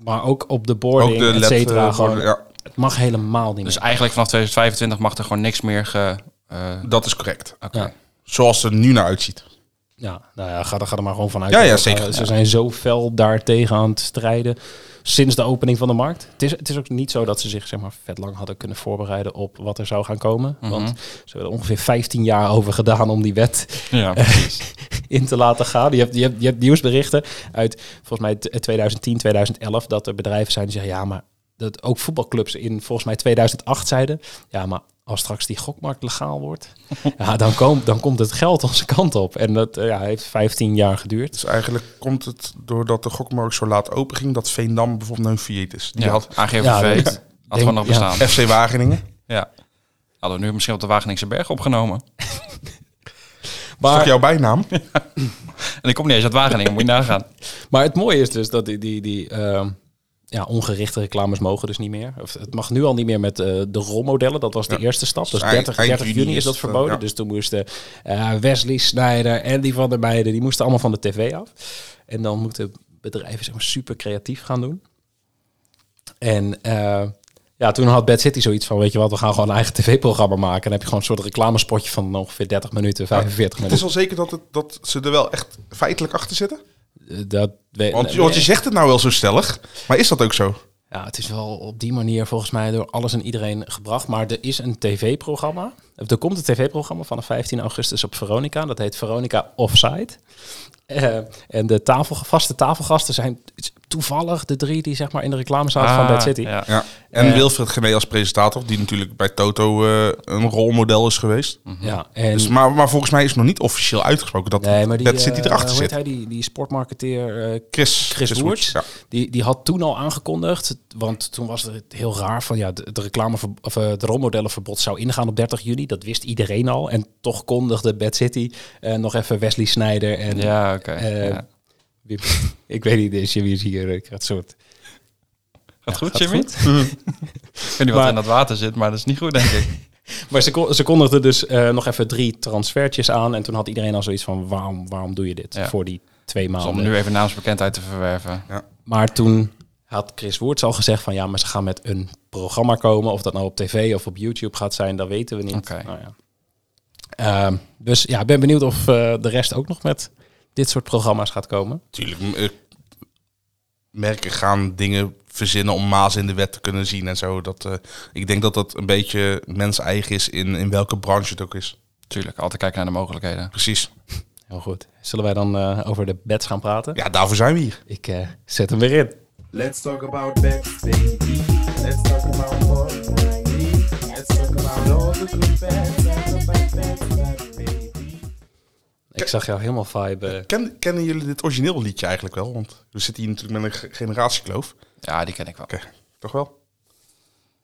Speaker 7: maar ook op de
Speaker 8: Ook
Speaker 7: boarding,
Speaker 8: de
Speaker 7: et
Speaker 8: led,
Speaker 7: cetera.
Speaker 8: eh,
Speaker 7: gewoon,
Speaker 8: worden- ja,
Speaker 7: Het mag helemaal niet
Speaker 9: Dus
Speaker 7: meer.
Speaker 9: eigenlijk vanaf 2025 mag er gewoon niks meer ge... eh,
Speaker 8: dat is correct.
Speaker 9: Oké.
Speaker 7: Ja.
Speaker 8: Zoals het er nu naar uitziet.
Speaker 7: Ja, nou ja, ga, er- ga er maar gewoon vanuit.
Speaker 8: Ja, ja,
Speaker 7: Dat- eh,
Speaker 8: zeker.
Speaker 7: Ze zijn zo fel daartegen aan het strijden sinds de opening van de markt. Het is, het is ook niet zo dat ze zich zeg maar, vet lang hadden kunnen voorbereiden op wat er zou gaan komen.
Speaker 8: Mhm.
Speaker 7: Want ze hebben er ongeveer 15 jaar over gedaan om die wet
Speaker 9: Ja.
Speaker 7: in te laten gaan. Je hebt, je hebt, je hebt nieuwsberichten uit volgens mij t- eh, 2010, 2011 dat er bedrijven zijn die zeggen ja, maar dat ook voetbalclubs in volgens mij 2008 zeiden ja, maar als straks die gokmarkt legaal wordt, ja, dan, komt dan komt het geld onze kant op. En dat eh, ja, heeft 15 jaar geduurd.
Speaker 8: Dus eigenlijk komt het doordat de gokmarkt zo laat open ging... dat Veendam bijvoorbeeld nu failliet is. Die
Speaker 9: Ja,
Speaker 8: had
Speaker 9: AGVV.
Speaker 7: Ja, dat-
Speaker 9: had gewoon nog
Speaker 7: ja.
Speaker 9: bestaan. Ja.
Speaker 8: FC Wageningen.
Speaker 9: Hadden we nu misschien op de Wageningse Berg opgenomen.
Speaker 8: Toch
Speaker 7: Maar,
Speaker 8: jouw *laughs* bijnaam?
Speaker 9: En ik kom niet eens uit Wageningen, moet je
Speaker 7: *laughs*
Speaker 9: nagaan.
Speaker 7: maar het mooie is dus dat die, die, die ehm, ja, ongerichte reclames mogen dus niet meer. Of het mag nu al niet meer met eh, de rolmodellen. Dat was de
Speaker 8: Ja.
Speaker 7: eerste stap. Dus
Speaker 8: eind-
Speaker 7: 30,
Speaker 8: eind
Speaker 7: 30 juni
Speaker 8: juni
Speaker 7: is dat
Speaker 8: is het, eh,
Speaker 7: verboden.
Speaker 8: ja.
Speaker 7: Dus toen moesten eh, Wesley Snijder en die van der Meijden, die moesten allemaal van de tv af. En dan moeten bedrijven zeg maar, super creatief gaan doen. En eh, ja, toen had Bad City zoiets van, weet je wat, we gaan gewoon een eigen tv-programma maken. En dan heb je gewoon een soort reclamespotje van ongeveer 30 minuten, 45
Speaker 8: Het is
Speaker 7: minuten.
Speaker 8: wel zeker dat, het, dat ze er wel echt feitelijk achter zitten.
Speaker 7: Eh, Dat weet,
Speaker 8: Want, want je zegt het nou wel zo stellig, maar is dat ook zo?
Speaker 7: Ja, het is wel op die manier volgens mij door alles en iedereen gebracht. Maar er is een tv-programma. Er komt een tv-programma vanaf 15 augustus op Veronica. Dat heet Veronica Offside. Eh, en de tafel, vaste tafelgasten zijn toevallig de drie die zeg maar in de reclame zaten van
Speaker 9: Ah,
Speaker 7: Bad City.
Speaker 9: Ja.
Speaker 8: Ja. En
Speaker 7: Eh.
Speaker 8: Wilfred Gené als presentator, die natuurlijk bij Toto eh, een rolmodel is geweest.
Speaker 7: Ja, en
Speaker 8: Dus, maar, maar volgens mij is het nog niet officieel uitgesproken dat
Speaker 7: Mhm. nee, maar die,
Speaker 8: Bad City
Speaker 7: eh,
Speaker 8: erachter
Speaker 7: hoe heet hij,
Speaker 8: zit.
Speaker 7: die, die sportmarketeer eh,
Speaker 8: Chris,
Speaker 7: Chris Woerts.
Speaker 8: Ja.
Speaker 7: Die, die had toen al aangekondigd, want toen was het heel raar van ja, het reclame of eh, het rolmodellenverbod zou ingaan op 30 juni. Dat wist iedereen al. En toch kondigde Bad City eh, nog even Wesley Snijder en
Speaker 9: Ja, oké.
Speaker 7: Eh,
Speaker 9: ja.
Speaker 7: Wim- *laughs* ik weet niet, deze Jimmy is hier. eh, Ik ga het soort.
Speaker 9: Gaat goed,
Speaker 7: gaat
Speaker 9: Jimmy? *laughs* ik weet niet wat
Speaker 7: Maar-
Speaker 9: er in dat water zit, maar dat is niet goed, denk
Speaker 7: *laughs*
Speaker 9: ik.
Speaker 7: Maar ze, kon- ze kondigden dus eh, nog even drie transfertjes aan. En toen had iedereen al zoiets van waarom, waarom doe je dit
Speaker 9: Ja.
Speaker 7: voor die twee
Speaker 9: Dus
Speaker 7: maanden?
Speaker 9: om nu even naamsbekendheid te verwerven.
Speaker 7: Maar toen had Chris Woerts al gezegd van ja, maar ze gaan met een programma komen. Of dat nou op tv of op YouTube gaat zijn, dat weten we niet.
Speaker 9: Oké.
Speaker 7: Nou ja. Ehm, dus ja, ik ben benieuwd of eh, de rest ook nog met dit soort programma's gaat komen.
Speaker 8: Tuurlijk, m- eh, merken gaan dingen verzinnen om maas in de wet te kunnen zien en zo. Dat, eh, ik denk dat dat een beetje mens eigen is in, in welke branche het ook is.
Speaker 9: Tuurlijk, altijd kijken naar de mogelijkheden.
Speaker 8: Precies.
Speaker 7: Heel goed. Zullen wij dan eh, over de bets gaan praten?
Speaker 8: Ja, daarvoor zijn we hier.
Speaker 7: Ik eh, zet hem weer in.
Speaker 4: Let's talk about bets, baby. Let's talk about money. Let's talk about all the good bets. Let's talk about bets, bets, baby.
Speaker 7: Ik zag jou helemaal vibe. eh,
Speaker 8: Ken, kennen jullie dit origineel liedje eigenlijk wel? Want we zitten hier natuurlijk met een ge- generatiekloof.
Speaker 9: Ja, die ken ik wel.
Speaker 8: Oké, toch wel?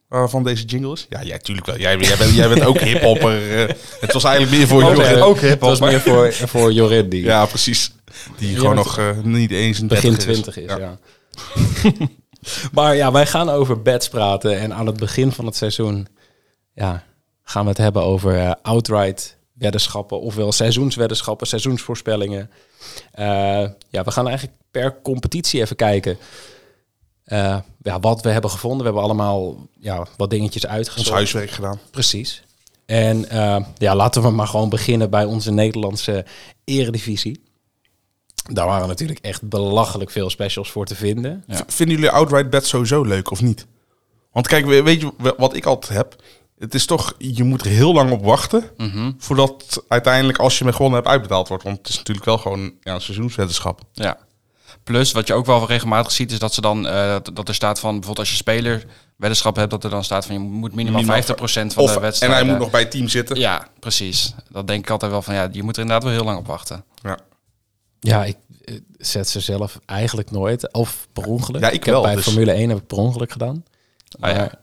Speaker 8: Waarvan van deze jingle is? Ja, jij tuurlijk wel. Jij, jij, bent, jij bent ook hiphopper. eh. het was eigenlijk meer voor
Speaker 7: Oh,
Speaker 8: Jorrit.
Speaker 7: eh,
Speaker 8: hiphopper.
Speaker 7: Het was meer voor, voor Jorin, die
Speaker 8: Ja, precies. Die
Speaker 7: Ja,
Speaker 8: gewoon
Speaker 7: want-
Speaker 8: nog eh, niet eens een
Speaker 7: begin
Speaker 8: 30
Speaker 7: 20 is. Ja. *laughs* maar ja, wij gaan over bets praten. En aan het begin van het seizoen ja, gaan we het hebben over eh, outright weddenschappen. Ofwel seizoensweddenschappen, seizoensvoorspellingen. Eh, ja, we gaan eigenlijk per competitie even kijken. eh, ja, wat we hebben gevonden. We hebben allemaal ja, wat dingetjes
Speaker 8: Ons
Speaker 7: uitgezocht.
Speaker 8: huiswerk gedaan.
Speaker 7: Precies. En eh, ja, laten we maar gewoon beginnen bij onze Nederlandse eredivisie. Daar waren natuurlijk echt belachelijk veel specials voor te vinden.
Speaker 9: Ja.
Speaker 8: V- Vinden jullie outright bets sowieso leuk of niet? Want kijk, we- weet je we- wat ik altijd heb? Het is toch, je moet er heel lang op wachten
Speaker 9: Mhm.
Speaker 8: voordat uiteindelijk als je met gewonnen hebt uitbetaald wordt. Want het is natuurlijk wel gewoon ja, een seizoenswetenschap.
Speaker 9: Ja. Plus, wat je ook wel regelmatig ziet, is dat ze dan eh, dat- dat er staat van bijvoorbeeld als je speler weddenschap hebt, dat er dan staat van je moet minimaal 50% van de
Speaker 8: Of, en
Speaker 9: wedstrijd. eh,
Speaker 8: hij moet nog bij het team zitten.
Speaker 9: Ja, precies. Dat denk ik altijd wel van ja, je moet er inderdaad wel heel lang op wachten.
Speaker 8: Ja.
Speaker 7: Ja, ik eh, zet ze zelf eigenlijk nooit. Of per ongeluk.
Speaker 8: Ja, ik
Speaker 7: heb
Speaker 8: wel,
Speaker 7: Bij
Speaker 8: dus-
Speaker 7: Formule 1 heb ik per ongeluk gedaan.
Speaker 9: Ah, ja.
Speaker 7: Maar,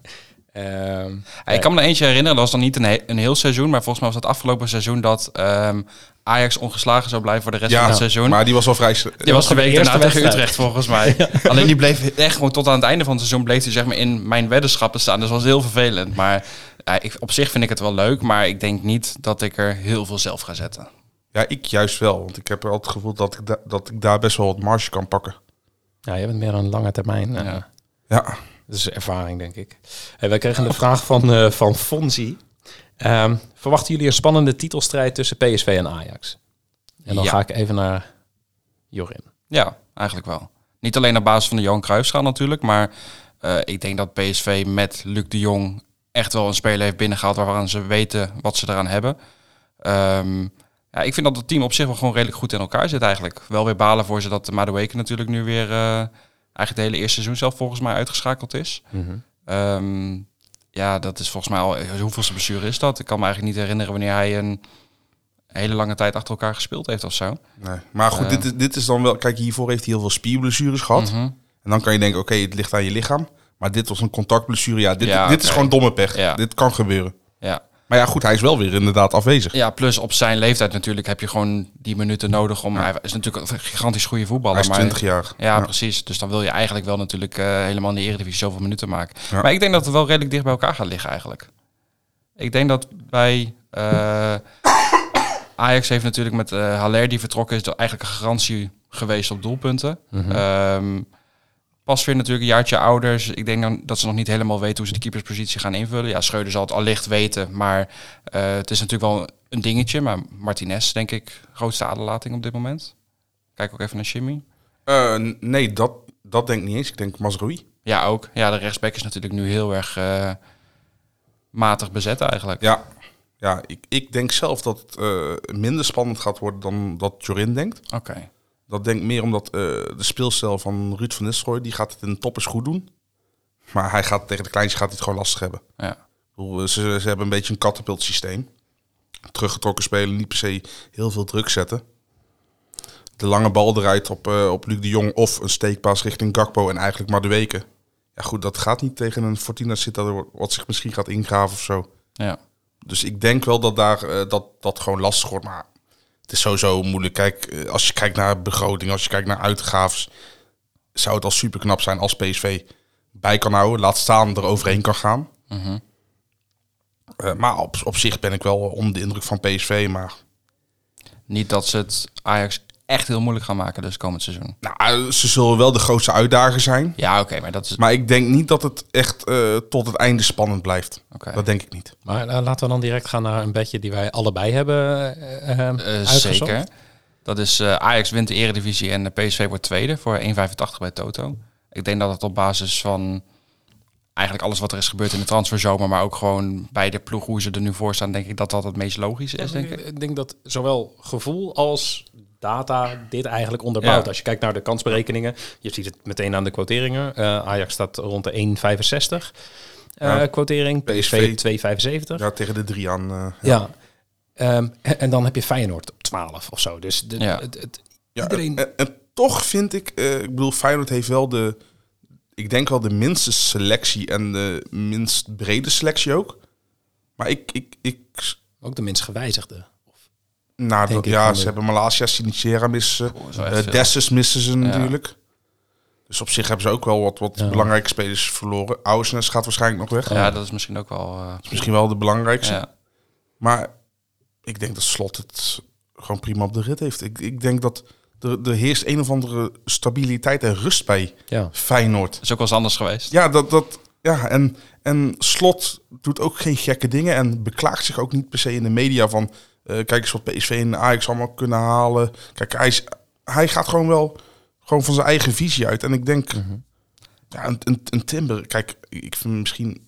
Speaker 7: ehm,
Speaker 9: Ik kan me er eentje herinneren, dat was dan niet een, he- een heel seizoen, maar volgens mij was dat afgelopen seizoen dat ehm, Ajax ongeslagen zou blijven voor de rest
Speaker 8: Ja,
Speaker 9: van het seizoen.
Speaker 8: maar die was al vrij... s-
Speaker 9: die was de week
Speaker 7: eerste
Speaker 9: daarna tegen
Speaker 7: wedstrijd.
Speaker 9: Utrecht *laughs* volgens mij. Alleen die bleef echt gewoon tot aan het einde van het seizoen bleef hij zeg maar in mijn weddenschappen staan. Dus dat was heel vervelend. Maar ja, ik, op zich vind ik het wel leuk, maar ik denk niet dat ik er heel veel zelf ga zetten.
Speaker 8: Ja, ik juist wel. Want ik heb altijd het gevoel dat ik, da- dat ik daar best wel wat marge kan pakken.
Speaker 7: ja, je bent meer aan lange termijn. eh,
Speaker 9: Ja.
Speaker 8: Ja,
Speaker 7: Dat is ervaring, denk ik. Hey, wij kregen een vraag van, eh, van Fonzie. Ehm, verwachten jullie een spannende titelstrijd tussen PSV en Ajax? En dan
Speaker 9: Ja.
Speaker 7: ga ik even naar Jorin.
Speaker 9: Ja, eigenlijk wel. Niet alleen op basis van de Johan Cruijffschaal natuurlijk, maar eh, ik denk dat PSV met Luc de Jong echt wel een speler heeft binnengehaald waarvan ze weten wat ze eraan hebben. Ehm, ja, ik vind dat het team op zich wel gewoon redelijk goed in elkaar zit eigenlijk. Wel weer balen voor ze dat Madueke natuurlijk nu weer eh, eigenlijk het hele eerste seizoen zelf volgens mij uitgeschakeld is. Ehm, ja, dat is volgens mij al... Hoeveelste blessure is dat? Ik kan me eigenlijk niet herinneren wanneer hij een hele lange tijd achter elkaar gespeeld heeft of zo.
Speaker 8: nee. maar goed, dit, is, dit is dan wel... Kijk, hiervoor heeft hij heel veel spierblessures gehad.
Speaker 9: Mhm.
Speaker 8: En dan kan je denken, oké, het ligt aan je lichaam. Maar dit was een contactblessure. Ja, dit,
Speaker 9: Ja,
Speaker 8: dit is
Speaker 9: oké.
Speaker 8: gewoon domme pech.
Speaker 9: Ja.
Speaker 8: Dit kan gebeuren.
Speaker 9: Ja,
Speaker 8: Maar ja, goed, hij is wel weer inderdaad afwezig.
Speaker 9: Ja, plus op zijn leeftijd natuurlijk heb je gewoon die minuten nodig om. Hij is natuurlijk een gigantisch goede voetballer.
Speaker 8: hij is
Speaker 9: maar-
Speaker 8: 20 jaar.
Speaker 9: Ja, precies. Dus dan wil je eigenlijk wel natuurlijk eh, helemaal in de Eredivisie zoveel minuten maken.
Speaker 8: Ja.
Speaker 9: Maar ik denk dat het wel redelijk dicht bij elkaar gaat liggen eigenlijk. Ik denk dat bij eh, *coughs* Ajax heeft natuurlijk met eh Haller die vertrokken is, dat eigenlijk een garantie geweest op doelpunten. Ehm, Pas weer natuurlijk een jaartje ouders. Ik denk dan dat ze nog niet helemaal weten hoe ze de keeperspositie gaan invullen. Ja, Schreuder zal het allicht weten, maar eh, het is natuurlijk wel een dingetje. Maar Martinez, denk ik, grootste aderlating op dit moment. Kijk ook even naar Jimmy.
Speaker 8: Eh, n- nee, dat, dat denk ik niet eens. Ik denk Masrui.
Speaker 9: Ja, ook. Ja, de rechtsback is natuurlijk nu heel erg eh, matig bezet eigenlijk.
Speaker 8: Ja, ja ik, ik denk zelf dat het eh, minder spannend gaat worden dan dat Jorin denkt.
Speaker 9: Oké.
Speaker 8: Dat denk ik meer omdat eh, de speelstijl van Ruud van Nistelrooy... die gaat het in de toppers goed doen. Maar hij gaat, tegen de kleintjes gaat hij het gewoon lastig hebben.
Speaker 9: Ja.
Speaker 8: Ik bedoel, Ze, ze hebben een beetje een katapult systeem. Teruggetrokken spelen, niet per se heel veel druk zetten. De lange bal eruit op, eh, op Luc de Jong of een steekpaas richting Gakpo en eigenlijk maar de weken. Ja goed, dat gaat niet tegen een Fortuna Sittard wat zich misschien gaat ingraven of zo.
Speaker 9: ja.
Speaker 8: Dus ik denk wel dat daar, eh, dat, dat gewoon lastig wordt. Maar het is sowieso moeilijk. Kijk, eh, als je kijkt naar begroting, als je kijkt naar uitgaves... zou het al super knap zijn als PSV bij kan houden. Laat staan, er overheen kan gaan. Eh, maar op, op zich ben ik wel onder de indruk van PSV. Maar
Speaker 9: Niet dat ze het Ajax echt heel moeilijk gaan maken dus komend seizoen.
Speaker 8: nou, eh, ze zullen wel de grootste uitdager zijn.
Speaker 9: Ja, oké, maar dat is...
Speaker 8: Maar ik denk niet dat het echt eh, tot het einde spannend blijft.
Speaker 9: Oké.
Speaker 8: Dat denk ik niet.
Speaker 7: Maar eh, laten we dan direct gaan naar een bedje die wij allebei hebben eh, eh,
Speaker 9: Eh,
Speaker 7: uitgezocht.
Speaker 9: zeker. Dat is eh, Ajax wint de Eredivisie en eh, PSV wordt tweede voor 1,85 bij Toto. Ik denk dat het op basis van eigenlijk alles wat er is gebeurd in de transferzomer, maar ook gewoon bij de ploeg hoe ze er nu voor staan, denk ik dat dat het meest logische is, denk ik.
Speaker 7: ik denk dat zowel gevoel als data dit eigenlijk onderbouwt.
Speaker 9: Ja.
Speaker 7: Als je kijkt naar de kansberekeningen, je ziet het meteen aan de quoteringen. Eh, Ajax staat rond de 1,65 eh,
Speaker 8: Ja.
Speaker 7: quotering, PSV
Speaker 8: PSV
Speaker 7: 2,75.
Speaker 8: Ja, tegen de drie aan. eh,
Speaker 7: Ja. Ehm, en, en dan heb je Feyenoord op 12 of zo. Dus de,
Speaker 9: Ja.
Speaker 7: het, het-
Speaker 8: ja,
Speaker 7: iedereen...
Speaker 8: en, en toch vind ik, eh, ik bedoel, Feyenoord heeft wel de, ik denk wel de minste selectie en de minst brede selectie ook. Maar ik, ik, ik
Speaker 7: ook de minst gewijzigde.
Speaker 8: Nou,
Speaker 7: Denk
Speaker 8: dat-
Speaker 7: ik
Speaker 8: ja,
Speaker 7: wel
Speaker 8: ze
Speaker 7: leuk.
Speaker 8: hebben Malasia, Sinistera missen.
Speaker 9: Oh, is wel echt
Speaker 8: eh
Speaker 9: veel.
Speaker 8: Dessus missen ze natuurlijk. Dus op zich hebben ze ook wel wat, wat
Speaker 7: Ja.
Speaker 8: belangrijke spelers verloren. Ousnes gaat waarschijnlijk nog weg.
Speaker 9: Ja, dat is misschien ook wel. eh,
Speaker 8: is misschien wel de belangrijkste.
Speaker 9: ja.
Speaker 8: Maar ik denk dat Slot het gewoon prima op de rit heeft. Ik, ik denk dat er, er heerst een of andere stabiliteit en rust bij
Speaker 7: Ja.
Speaker 8: Feyenoord.
Speaker 9: Is ook wel eens anders geweest.
Speaker 8: Ja, dat, dat, ja en, en Slot doet ook geen gekke dingen en beklaagt zich ook niet per se in de media van... eh, kijk eens wat PSV en Ajax allemaal kunnen halen. Kijk, hij, is- hij gaat gewoon wel gewoon van zijn eigen visie uit. En ik denk, ja, een, een, een Timber, kijk, ik vind misschien...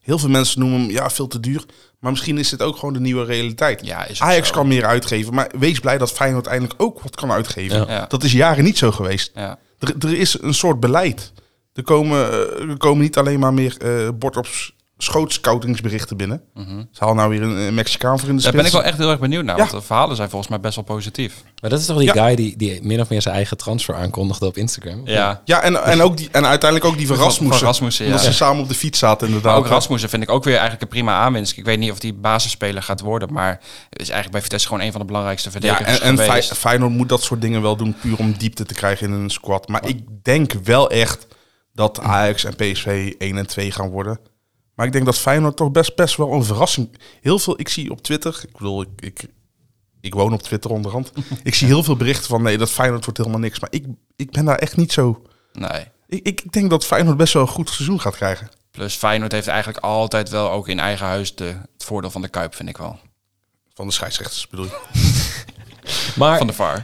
Speaker 8: Heel veel mensen noemen hem ja, veel te duur. Maar misschien is dit ook gewoon de nieuwe realiteit.
Speaker 9: Ja, is ook
Speaker 8: Ajax
Speaker 9: zo.
Speaker 8: kan meer uitgeven. Maar wees blij dat Feyenoord eindelijk ook wat kan uitgeven.
Speaker 9: Ja.
Speaker 8: Dat is jaren niet zo geweest.
Speaker 9: Ja.
Speaker 8: Er, er is een soort beleid. Er komen, eh, er komen niet alleen maar meer eh bord op s- schoot scoutingsberichten binnen. Ze halen nou weer een, eh, Mexicaan voor in de
Speaker 9: Mhm. Daar
Speaker 8: spits.
Speaker 9: ben ik wel echt heel erg benieuwd naar.
Speaker 8: Ja.
Speaker 9: Want de verhalen zijn volgens mij best wel positief.
Speaker 7: Maar dat is toch die
Speaker 8: Ja.
Speaker 7: guy die, die min of meer zijn eigen transfer aankondigde op Instagram?
Speaker 9: Ja.
Speaker 8: Ja, en, en, ook die, en uiteindelijk ook die van
Speaker 9: Van-
Speaker 8: Rasmussen.
Speaker 9: van Rasmussen, ja.
Speaker 8: Omdat ze samen op de fiets zaten
Speaker 9: Maar
Speaker 8: inderdaad.
Speaker 9: ook Rasmussen vind ik ook weer eigenlijk een prima aanwinst. Ik weet niet of die basisspeler gaat worden, maar het is eigenlijk bij Vitesse gewoon een van de belangrijkste
Speaker 8: ja,
Speaker 9: verdedigers
Speaker 8: en, en Fey-
Speaker 9: geweest.
Speaker 8: Feyenoord moet dat soort dingen wel doen puur om diepte te krijgen in een squad. Maar ik denk wel echt dat Ajax en PSV 1 en 2 gaan worden. Maar ik denk dat Feyenoord toch best, best wel een verrassing... Heel veel, ik zie op Twitter... Ik bedoel, ik, ik, ik woon op Twitter onderhand. Ik zie heel veel berichten van... Nee, dat Feyenoord wordt helemaal niks. Maar ik, ik ben daar echt niet zo...
Speaker 9: Nee.
Speaker 8: Ik, ik denk dat Feyenoord best wel een goed seizoen gaat krijgen.
Speaker 9: Plus Feyenoord heeft eigenlijk altijd wel ook in eigen huis de, het voordeel van de Kuip, vind ik wel.
Speaker 8: Van de scheidsrechters bedoel je.
Speaker 7: Maar
Speaker 9: Van de VAR.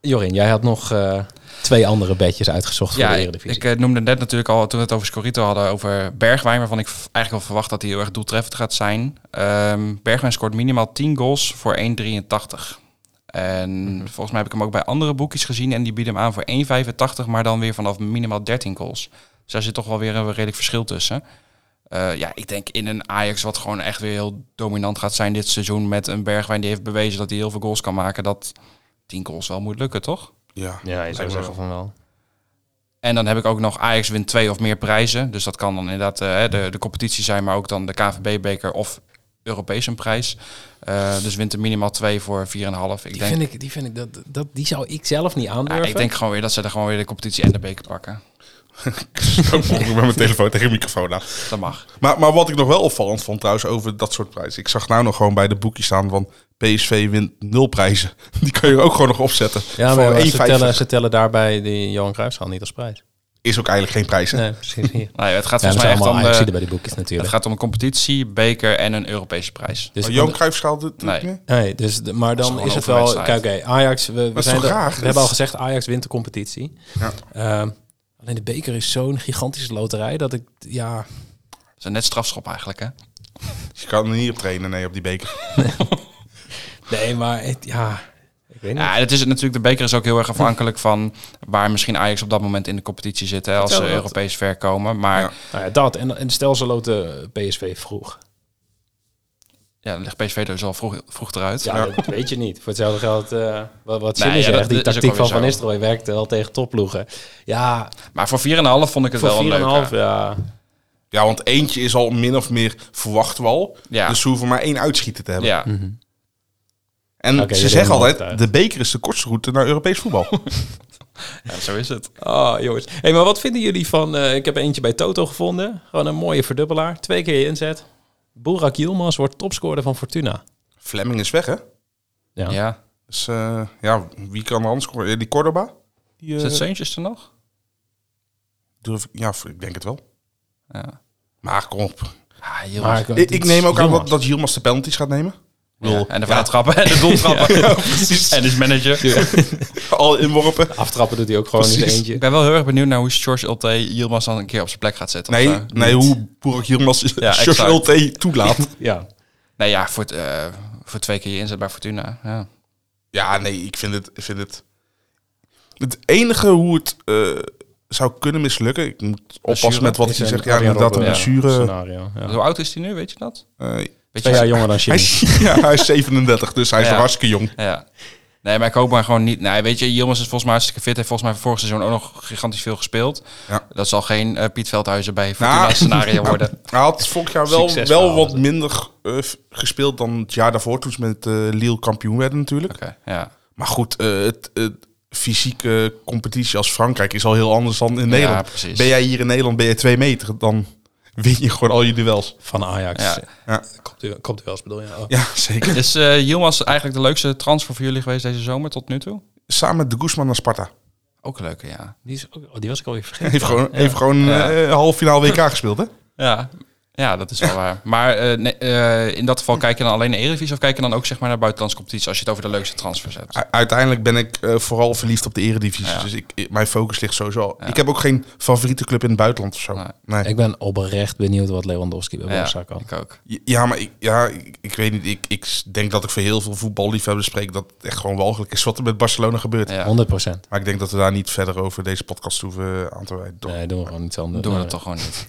Speaker 7: Jorin, jij had nog eh, twee andere bedjes uitgezocht voor
Speaker 9: Ja,
Speaker 7: de
Speaker 9: ik,
Speaker 7: Eredivisie.
Speaker 9: ik, eh, noemde net natuurlijk al, toen we het over Scorito hadden, over Bergwijn, waarvan ik v- eigenlijk wel verwacht dat hij heel erg doeltreffend gaat zijn. Ehm, Bergwijn scoort minimaal 10 goals voor 1,83. En
Speaker 7: Mhm.
Speaker 9: volgens mij heb ik hem ook bij andere boekjes gezien en die bieden hem aan voor 1,85, maar dan weer vanaf minimaal 13 goals. Dus daar zit toch wel weer een redelijk verschil tussen. Eh, ja, ik denk in een Ajax wat gewoon echt weer heel dominant gaat zijn dit seizoen met een Bergwijn die heeft bewezen dat hij heel veel goals kan maken, dat 10 goals wel moet lukken, toch?
Speaker 8: Ja, *laughs*
Speaker 7: ja, je zou
Speaker 8: me
Speaker 7: zeggen van wel.
Speaker 9: En dan heb ik ook nog Ajax wint twee of meer prijzen. Dus dat kan dan inderdaad eh, hè, de, de competitie zijn, maar ook dan de KVB-beker of Europees een prijs. Eh, dus wint er minimaal twee voor 4,5. Ik,
Speaker 7: Die
Speaker 9: denk,
Speaker 7: vind ik, die, vind ik dat, dat, die zou ik zelf niet
Speaker 9: ja,
Speaker 7: aandurven.
Speaker 9: ik denk gewoon weer dat ze er gewoon weer de competitie en de beker pakken.
Speaker 8: Ik ben met mijn telefoon tegen de microfoon aan.
Speaker 9: Dat mag.
Speaker 8: Maar, maar wat ik nog wel opvallend vond trouwens over dat soort prijzen. Ik zag nou nog gewoon bij de boekjes staan van PSV wint nul prijzen. *laughs* Die kun je er ook gewoon nog opzetten.
Speaker 7: ja,
Speaker 8: voor
Speaker 9: E
Speaker 7: maar ze
Speaker 8: 1,50
Speaker 7: tellen, ze tellen daarbij die Johan Cruijffschaal niet als prijs.
Speaker 8: is ook eigenlijk geen prijs. hè?
Speaker 7: Nee, precies hier.
Speaker 9: Nee, Nou het gaat
Speaker 7: Ja, dat
Speaker 9: volgens
Speaker 7: zijn
Speaker 9: mij echt
Speaker 7: allemaal
Speaker 9: om
Speaker 7: Ajaxiden
Speaker 9: de,
Speaker 7: bij die boekjes
Speaker 9: het
Speaker 7: natuurlijk.
Speaker 9: gaat Oh, om een competitie, beker en een Europese prijs.
Speaker 7: Dus
Speaker 8: Maar Johan Cruijffschaal doet doet
Speaker 9: Nee.
Speaker 8: het meer?
Speaker 7: Nee, dus, de- maar dan
Speaker 9: gewoon
Speaker 7: is het
Speaker 9: over
Speaker 7: wel... Kijk,
Speaker 9: wedstrijd.
Speaker 7: oké, Ajax... We, we,
Speaker 8: is
Speaker 7: zijn
Speaker 8: toch
Speaker 7: er-
Speaker 8: raar?
Speaker 7: we
Speaker 8: Dat
Speaker 7: hebben al
Speaker 8: is-
Speaker 7: gezegd, Ajax wint de competitie.
Speaker 8: Ja.
Speaker 7: Ehm, alleen de beker is zo'n gigantische loterij dat ik... Ja,
Speaker 9: Dat is een net strafschop eigenlijk, hè?
Speaker 8: Dus je kan er niet op trainen, nee, op die beker.
Speaker 7: nee, maar het- ja... Ik weet niet.
Speaker 9: Ja, dat is het natuurlijk. De beker is ook heel erg afhankelijk van waar misschien Ajax op dat moment in de competitie zit. Hè, als ze
Speaker 7: Vertel dat.
Speaker 9: Europees ver komen. Maar ja.
Speaker 7: Nou ja, dat. En, en stel ze loten PSV vroeg.
Speaker 9: dan ligt PSV er dus al vroeg, vroeg eruit.
Speaker 7: Ja, dat weet je niet. Voor hetzelfde geld, eh, wat, wat
Speaker 9: Nee,
Speaker 7: Jimmy
Speaker 9: ja,
Speaker 7: zegt,
Speaker 9: dat-
Speaker 7: die
Speaker 9: dat is ook
Speaker 7: tactiek van
Speaker 9: wel weer
Speaker 7: Van
Speaker 9: zo.
Speaker 7: Nistelrooy werkte wel tegen topploegen. Ja,
Speaker 9: Maar voor 4,5 vond ik het
Speaker 7: voor
Speaker 9: wel een
Speaker 7: 4,5,
Speaker 9: leuke.
Speaker 7: ja.
Speaker 8: Ja, want eentje is al min of meer verwacht wel.
Speaker 9: Ja.
Speaker 8: Dus ze hoeven maar één uitschieter te hebben.
Speaker 9: Ja,
Speaker 8: En
Speaker 7: Oké,
Speaker 8: ze
Speaker 7: jullie
Speaker 8: zeggen
Speaker 7: hebben
Speaker 8: altijd,
Speaker 7: me overtuigd.
Speaker 8: de beker is de kortste route naar Europees voetbal. *laughs*
Speaker 9: ja, zo is het.
Speaker 7: Ah, jongens. hey, maar wat vinden jullie van... eh, ik heb eentje bij Toto gevonden. Gewoon een mooie verdubbelaar. Twee keer je inzet. Boerak Yilmaz wordt topscorer van Fortuna.
Speaker 8: Fleming is weg, hè?
Speaker 7: Ja.
Speaker 9: Ja.
Speaker 8: Dus eh, ja, wie kan er anders scoren? Eh, Die Cordoba? Die, eh,
Speaker 9: Zit Seuntjes er nog?
Speaker 8: durf, ik- ja, ik denk het wel.
Speaker 9: Ja.
Speaker 8: Maar kom op.
Speaker 9: Ah, heel
Speaker 7: Maar
Speaker 9: erg.
Speaker 8: Ik, ik neem ook aan dat, dat Yilmaz de penalties gaat nemen.
Speaker 9: Ja, en de vrijtrappen en de *laughs* doeltrappen. en is manager.
Speaker 8: *laughs* Al inworpen.
Speaker 7: Aftrappen doet hij ook gewoon in
Speaker 8: Precies.
Speaker 7: zijn
Speaker 9: Ik
Speaker 7: eentje.
Speaker 9: ben wel heel erg benieuwd naar hoe George Ulte Yilmaz dan een keer op zijn plek gaat zetten.
Speaker 8: Nee,
Speaker 9: Of, eh,
Speaker 8: nee hoe Boerak Yilmaz ja,
Speaker 9: exact.
Speaker 8: *laughs* George LT toelaat.
Speaker 7: Ja.
Speaker 9: nee ja, voor, het, eh, voor twee keer je inzet bij Fortuna. Ja.
Speaker 8: *laughs* ja, nee, ik vind het... Ik vind het, het enige hoe het eh, zou kunnen mislukken... Ik moet oppassen met wat
Speaker 7: Is
Speaker 8: hij
Speaker 7: een
Speaker 8: zegt. Ja,
Speaker 7: Arjen
Speaker 8: inderdaad, een
Speaker 7: Robben, ja,
Speaker 8: blessure.
Speaker 7: Scenario, ja.
Speaker 9: Hoe oud is hij nu, weet je dat?
Speaker 8: eh,
Speaker 9: Weet je,
Speaker 7: Twee jaar jonger dan
Speaker 8: hij,
Speaker 7: Jimmy.
Speaker 8: is, *laughs* ja, hij is 37, dus hij is
Speaker 9: Ja.
Speaker 8: nog hartstikke jong.
Speaker 9: *laughs* Ja. Nee, maar ik hoop maar gewoon niet. Nee, weet je, Yilmaz is volgens mij hartstikke fit. Heeft volgens mij vorig seizoen ook nog gigantisch veel gespeeld.
Speaker 8: Ja.
Speaker 9: Dat zal geen eh, Piet Veldhuizen bij Fortuna
Speaker 8: Nou, *laughs*
Speaker 9: scenario worden.
Speaker 8: Hij had vorig jaar wel,
Speaker 7: Succes
Speaker 8: wel
Speaker 7: verhaal.
Speaker 8: wat minder eh, f- gespeeld dan het jaar daarvoor. Toen ze met eh Lille kampioen werden natuurlijk.
Speaker 9: Oké, ja.
Speaker 8: Maar goed, eh, het, het fysieke competitie als Frankrijk is al heel anders dan in Nederland.
Speaker 9: precies.
Speaker 8: Ben jij hier in Nederland, ben je twee meter, dan win je gewoon al je duels.
Speaker 7: Van Ajax.
Speaker 9: Ja.
Speaker 8: Ja.
Speaker 7: Komt, komt u wel eens bedoel je? Oh.
Speaker 8: Ja, zeker.
Speaker 9: Is eh Yilmaz eigenlijk de leukste transfer voor jullie geweest deze zomer tot nu toe?
Speaker 8: Samen met de Guzman naar Sparta. *laughs*
Speaker 9: Ook een leuke, ja.
Speaker 1: Die, is ook- oh, die was ik alweer vergeten.
Speaker 8: Heeft gewoon, heeft gewoon
Speaker 9: Ja.
Speaker 8: eh, half finale WK gespeeld, hè?
Speaker 9: Ja, ja dat is wel waar. Maar eh, nee, eh, in dat geval kijk je dan alleen naar Eredivisie of kijk je dan ook zeg maar naar buitenlandse competities als je het over de leukste transfers hebt?
Speaker 8: U- Uiteindelijk ben ik eh, vooral verliefd op de eredivisie.
Speaker 9: Ja.
Speaker 8: Dus ik, ik- mijn focus ligt sowieso al. Ik heb ook geen favoriete club in het buitenland of zo.
Speaker 9: Nee.
Speaker 8: Nee.
Speaker 7: Ik ben oprecht benieuwd wat Lewandowski bij
Speaker 9: Ja,
Speaker 7: Barca kan.
Speaker 9: ik ook.
Speaker 8: Ja, maar ik, ja, ik, ik weet niet. Ik, ik denk dat ik voor heel veel voetballiefhebbers spreek dat het echt gewoon walgelijk is wat er met Barcelona gebeurt.
Speaker 9: Ja.
Speaker 7: 100 procent.
Speaker 8: Maar ik denk dat we daar niet verder over deze podcast hoeven eh, aan te wijden. toch?
Speaker 7: Nee, doen we gewoon iets anders.
Speaker 9: Doen we
Speaker 7: Nee.
Speaker 9: het toch gewoon niet.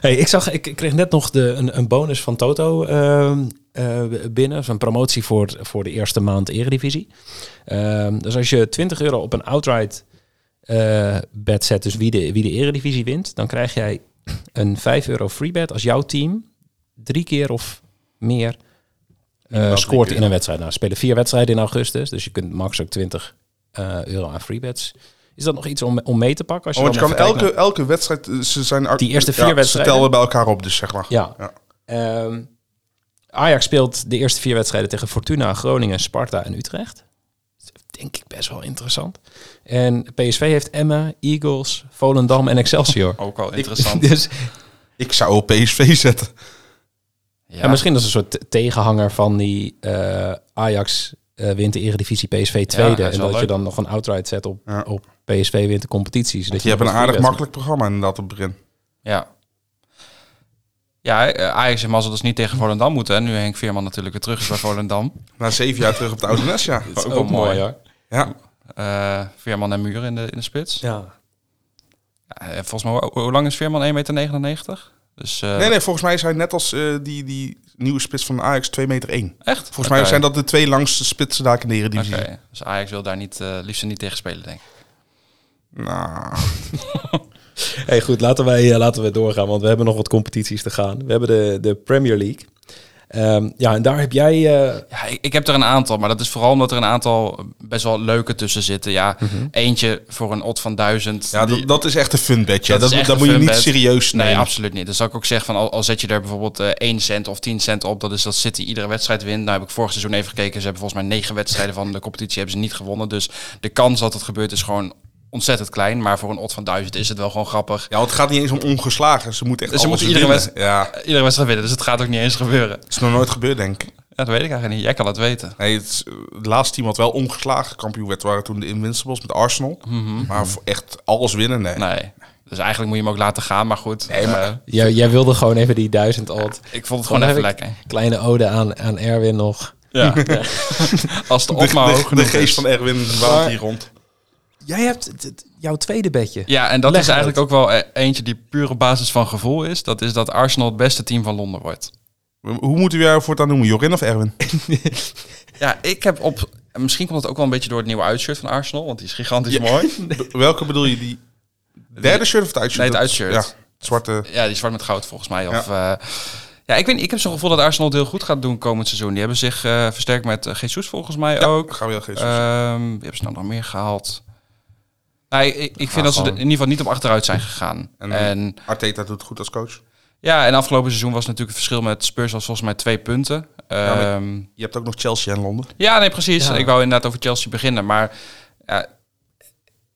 Speaker 7: Hey, ik, zag, ik ik kreeg net nog de, een, een bonus van Toto ehm, eh, binnen. Zo'n promotie voor, voor de eerste maand Eredivisie. Ehm, dus als je 20 euro op een outright eh bet zet, dus wie de, wie de Eredivisie wint, dan krijg jij *clears throat* een 5 euro free bet als jouw team drie keer of meer eh,
Speaker 8: drie
Speaker 7: scoort
Speaker 8: keer.
Speaker 7: in een wedstrijd. Nou, er spelen vier wedstrijden in augustus, dus je kunt max ook 20 eh, euro aan free bets. Is dat nog iets om, om mee te pakken? Als
Speaker 8: Oh, want je kan
Speaker 7: allemaal vergelijkt
Speaker 8: elke, elke wedstrijd, eh, ze zijn
Speaker 7: Die eerste vier wedstrijden?
Speaker 8: Ze tellen bij elkaar op, dus zeg maar.
Speaker 7: Ja.
Speaker 8: Ja.
Speaker 7: Ehm, Ajax speelt de eerste vier wedstrijden tegen Fortuna, Groningen, Sparta en Utrecht. Dat is Denk ik best wel interessant. En PSV heeft Emmen, Eagles, Volendam en Excelsior.
Speaker 9: Ook wel *laughs* interessant.
Speaker 7: *laughs* dus
Speaker 8: Ik zou op PSV zetten.
Speaker 9: Ja,
Speaker 7: ja, misschien is het een soort te- tegenhanger van die eh, Ajax eh, wint de Eredivisie PSV tweede.
Speaker 9: dat is
Speaker 7: en
Speaker 9: wel
Speaker 7: dat je
Speaker 9: leuk.
Speaker 7: dan nog een outright zet op,
Speaker 8: Ja.
Speaker 7: op PSV wint de competities. Dat
Speaker 8: Je hebt een
Speaker 7: nog
Speaker 8: aardig
Speaker 7: free
Speaker 8: makkelijk programma inderdaad op het begin.
Speaker 9: Ja. Ja, eh, Ajax en Mazzel dus niet tegen Volendam moeten. En nu Henk Veerman natuurlijk weer terug is bij Volendam.
Speaker 8: Na zeven jaar terug op het oude nest, ja.
Speaker 9: Dat is
Speaker 7: wedstrijd. Ook mooi hoor.
Speaker 8: Ja.
Speaker 9: Eh, Veerman en Muren in de, in de spits.
Speaker 7: Ja.
Speaker 9: Ja, eh, volgens mij, hoe, hoe lang is Veerman? 1,99 meter? Dus, eh,
Speaker 8: Nee, nee, volgens mij is hij net als eh, die, die nieuwe spits van Ajax 2 meter 1. Volgens
Speaker 9: Echt? Volgens
Speaker 8: mij zijn dat de twee langste spitsen daar in
Speaker 9: Oké,
Speaker 8: de Eredivisie.
Speaker 9: dus Ajax wil daar niet, eh, liefst niet tegen spelen, denk ik.
Speaker 8: Nou,
Speaker 7: Hey, goed, laten wij, eh, laten we doorgaan, want we hebben nog wat competities te gaan. We hebben de, de Premier League. Ehm, ja, en daar heb jij... eh,
Speaker 9: Ja, ik, ik heb er een aantal, maar dat is vooral omdat er een aantal best wel leuke tussen zitten. Ja, eentje voor een odd van 1000.
Speaker 8: Mhm. ja,
Speaker 9: die-
Speaker 8: dat, dat is echt een fun bedje. Dat,
Speaker 9: is
Speaker 8: dat,
Speaker 9: echt een
Speaker 8: moet je
Speaker 9: fun
Speaker 8: niet
Speaker 9: bet.
Speaker 8: serieus
Speaker 9: Nee,
Speaker 8: nemen.
Speaker 9: absoluut niet. Dan zal ik ook zeggen van al, al zet je er bijvoorbeeld eh 1 cent of 10 cent op, dat is dat City iedere wedstrijd wint. Nou heb ik vorig seizoen even gekeken. Ze hebben volgens mij negen wedstrijden van de competitie hebben ze niet gewonnen. Dus de kans dat het gebeurt is gewoon ontzettend klein. Maar voor een odd van 1000 is het wel gewoon grappig.
Speaker 8: Ja, want het gaat niet eens om ongeslagen. Ze moeten echt
Speaker 9: Dus ze
Speaker 8: alles
Speaker 9: moeten iedere
Speaker 8: winnen. Ja,
Speaker 9: Eh, Iedere wedstrijd winnen, dus het gaat ook niet eens gebeuren.
Speaker 8: is nog nooit gebeurd, denk ik.
Speaker 9: Ja, dat weet ik eigenlijk niet. Jij kan het weten.
Speaker 8: Nee, het, is, eh, het laatste team wat wel ongeslagen kampioen werd, waren toen de Invincibles met Arsenal.
Speaker 9: Mhm.
Speaker 8: Maar voor echt alles winnen, nee.
Speaker 9: Nee. Dus eigenlijk moet je hem ook laten gaan, maar goed.
Speaker 8: Nee, maar-
Speaker 9: eh,
Speaker 7: jij, jij wilde gewoon even die duizend alt.
Speaker 9: ik vond het gewoon even lekker.
Speaker 7: Kleine ode aan, aan Erwin nog.
Speaker 9: Ja. *laughs* Als de
Speaker 8: De,
Speaker 9: op maar hoog
Speaker 8: de, de
Speaker 9: genoeg dus.
Speaker 8: geest
Speaker 9: is.
Speaker 8: van Erwin waalt hier rond.
Speaker 7: Jij hebt het- het- jouw tweede bedje.
Speaker 9: Ja, en dat
Speaker 7: Leg
Speaker 9: is eigenlijk
Speaker 7: uit.
Speaker 9: ook wel eh, eentje die puur op basis van gevoel is. Dat is dat Arsenal het beste team van Londen wordt.
Speaker 8: Hoe moeten we jou voortaan noemen? Jorin of *laughs* Erwin?
Speaker 9: Ja, ik heb op... en Misschien komt het ook wel een beetje door het nieuwe uitshirt van Arsenal, want die is gigantisch mooi.
Speaker 8: B- Welke bedoel je? Die derde shirt of het uitshirt?
Speaker 9: Nee, het
Speaker 8: Dat-
Speaker 9: uitshirt.
Speaker 8: Ja, het zwarte.
Speaker 9: Ja, die is zwart met goud volgens mij. Of, ja. ja, ik, weet, niet, ik heb zo'n gevoel dat Arsenal het heel goed gaat doen komend seizoen. Die hebben zich eh, versterkt met eh, Jesus volgens mij ook.
Speaker 8: Gabriel Jezus.
Speaker 9: Ehm, wie hebben ze nou nog meer gehaald? Nee, ik, ik vind dat ze er in ieder geval niet op achteruit zijn gegaan.
Speaker 8: En-
Speaker 9: En,
Speaker 8: Arteta doet het goed als coach.
Speaker 9: ja, en afgelopen seizoen was natuurlijk het verschil met Spurs was volgens mij twee punten.
Speaker 8: maar-
Speaker 9: Ehm,
Speaker 8: Je hebt ook nog Chelsea en Londen.
Speaker 9: Ja, nee, precies.
Speaker 7: Ja.
Speaker 9: Ik wou inderdaad over Chelsea beginnen. Maar ja,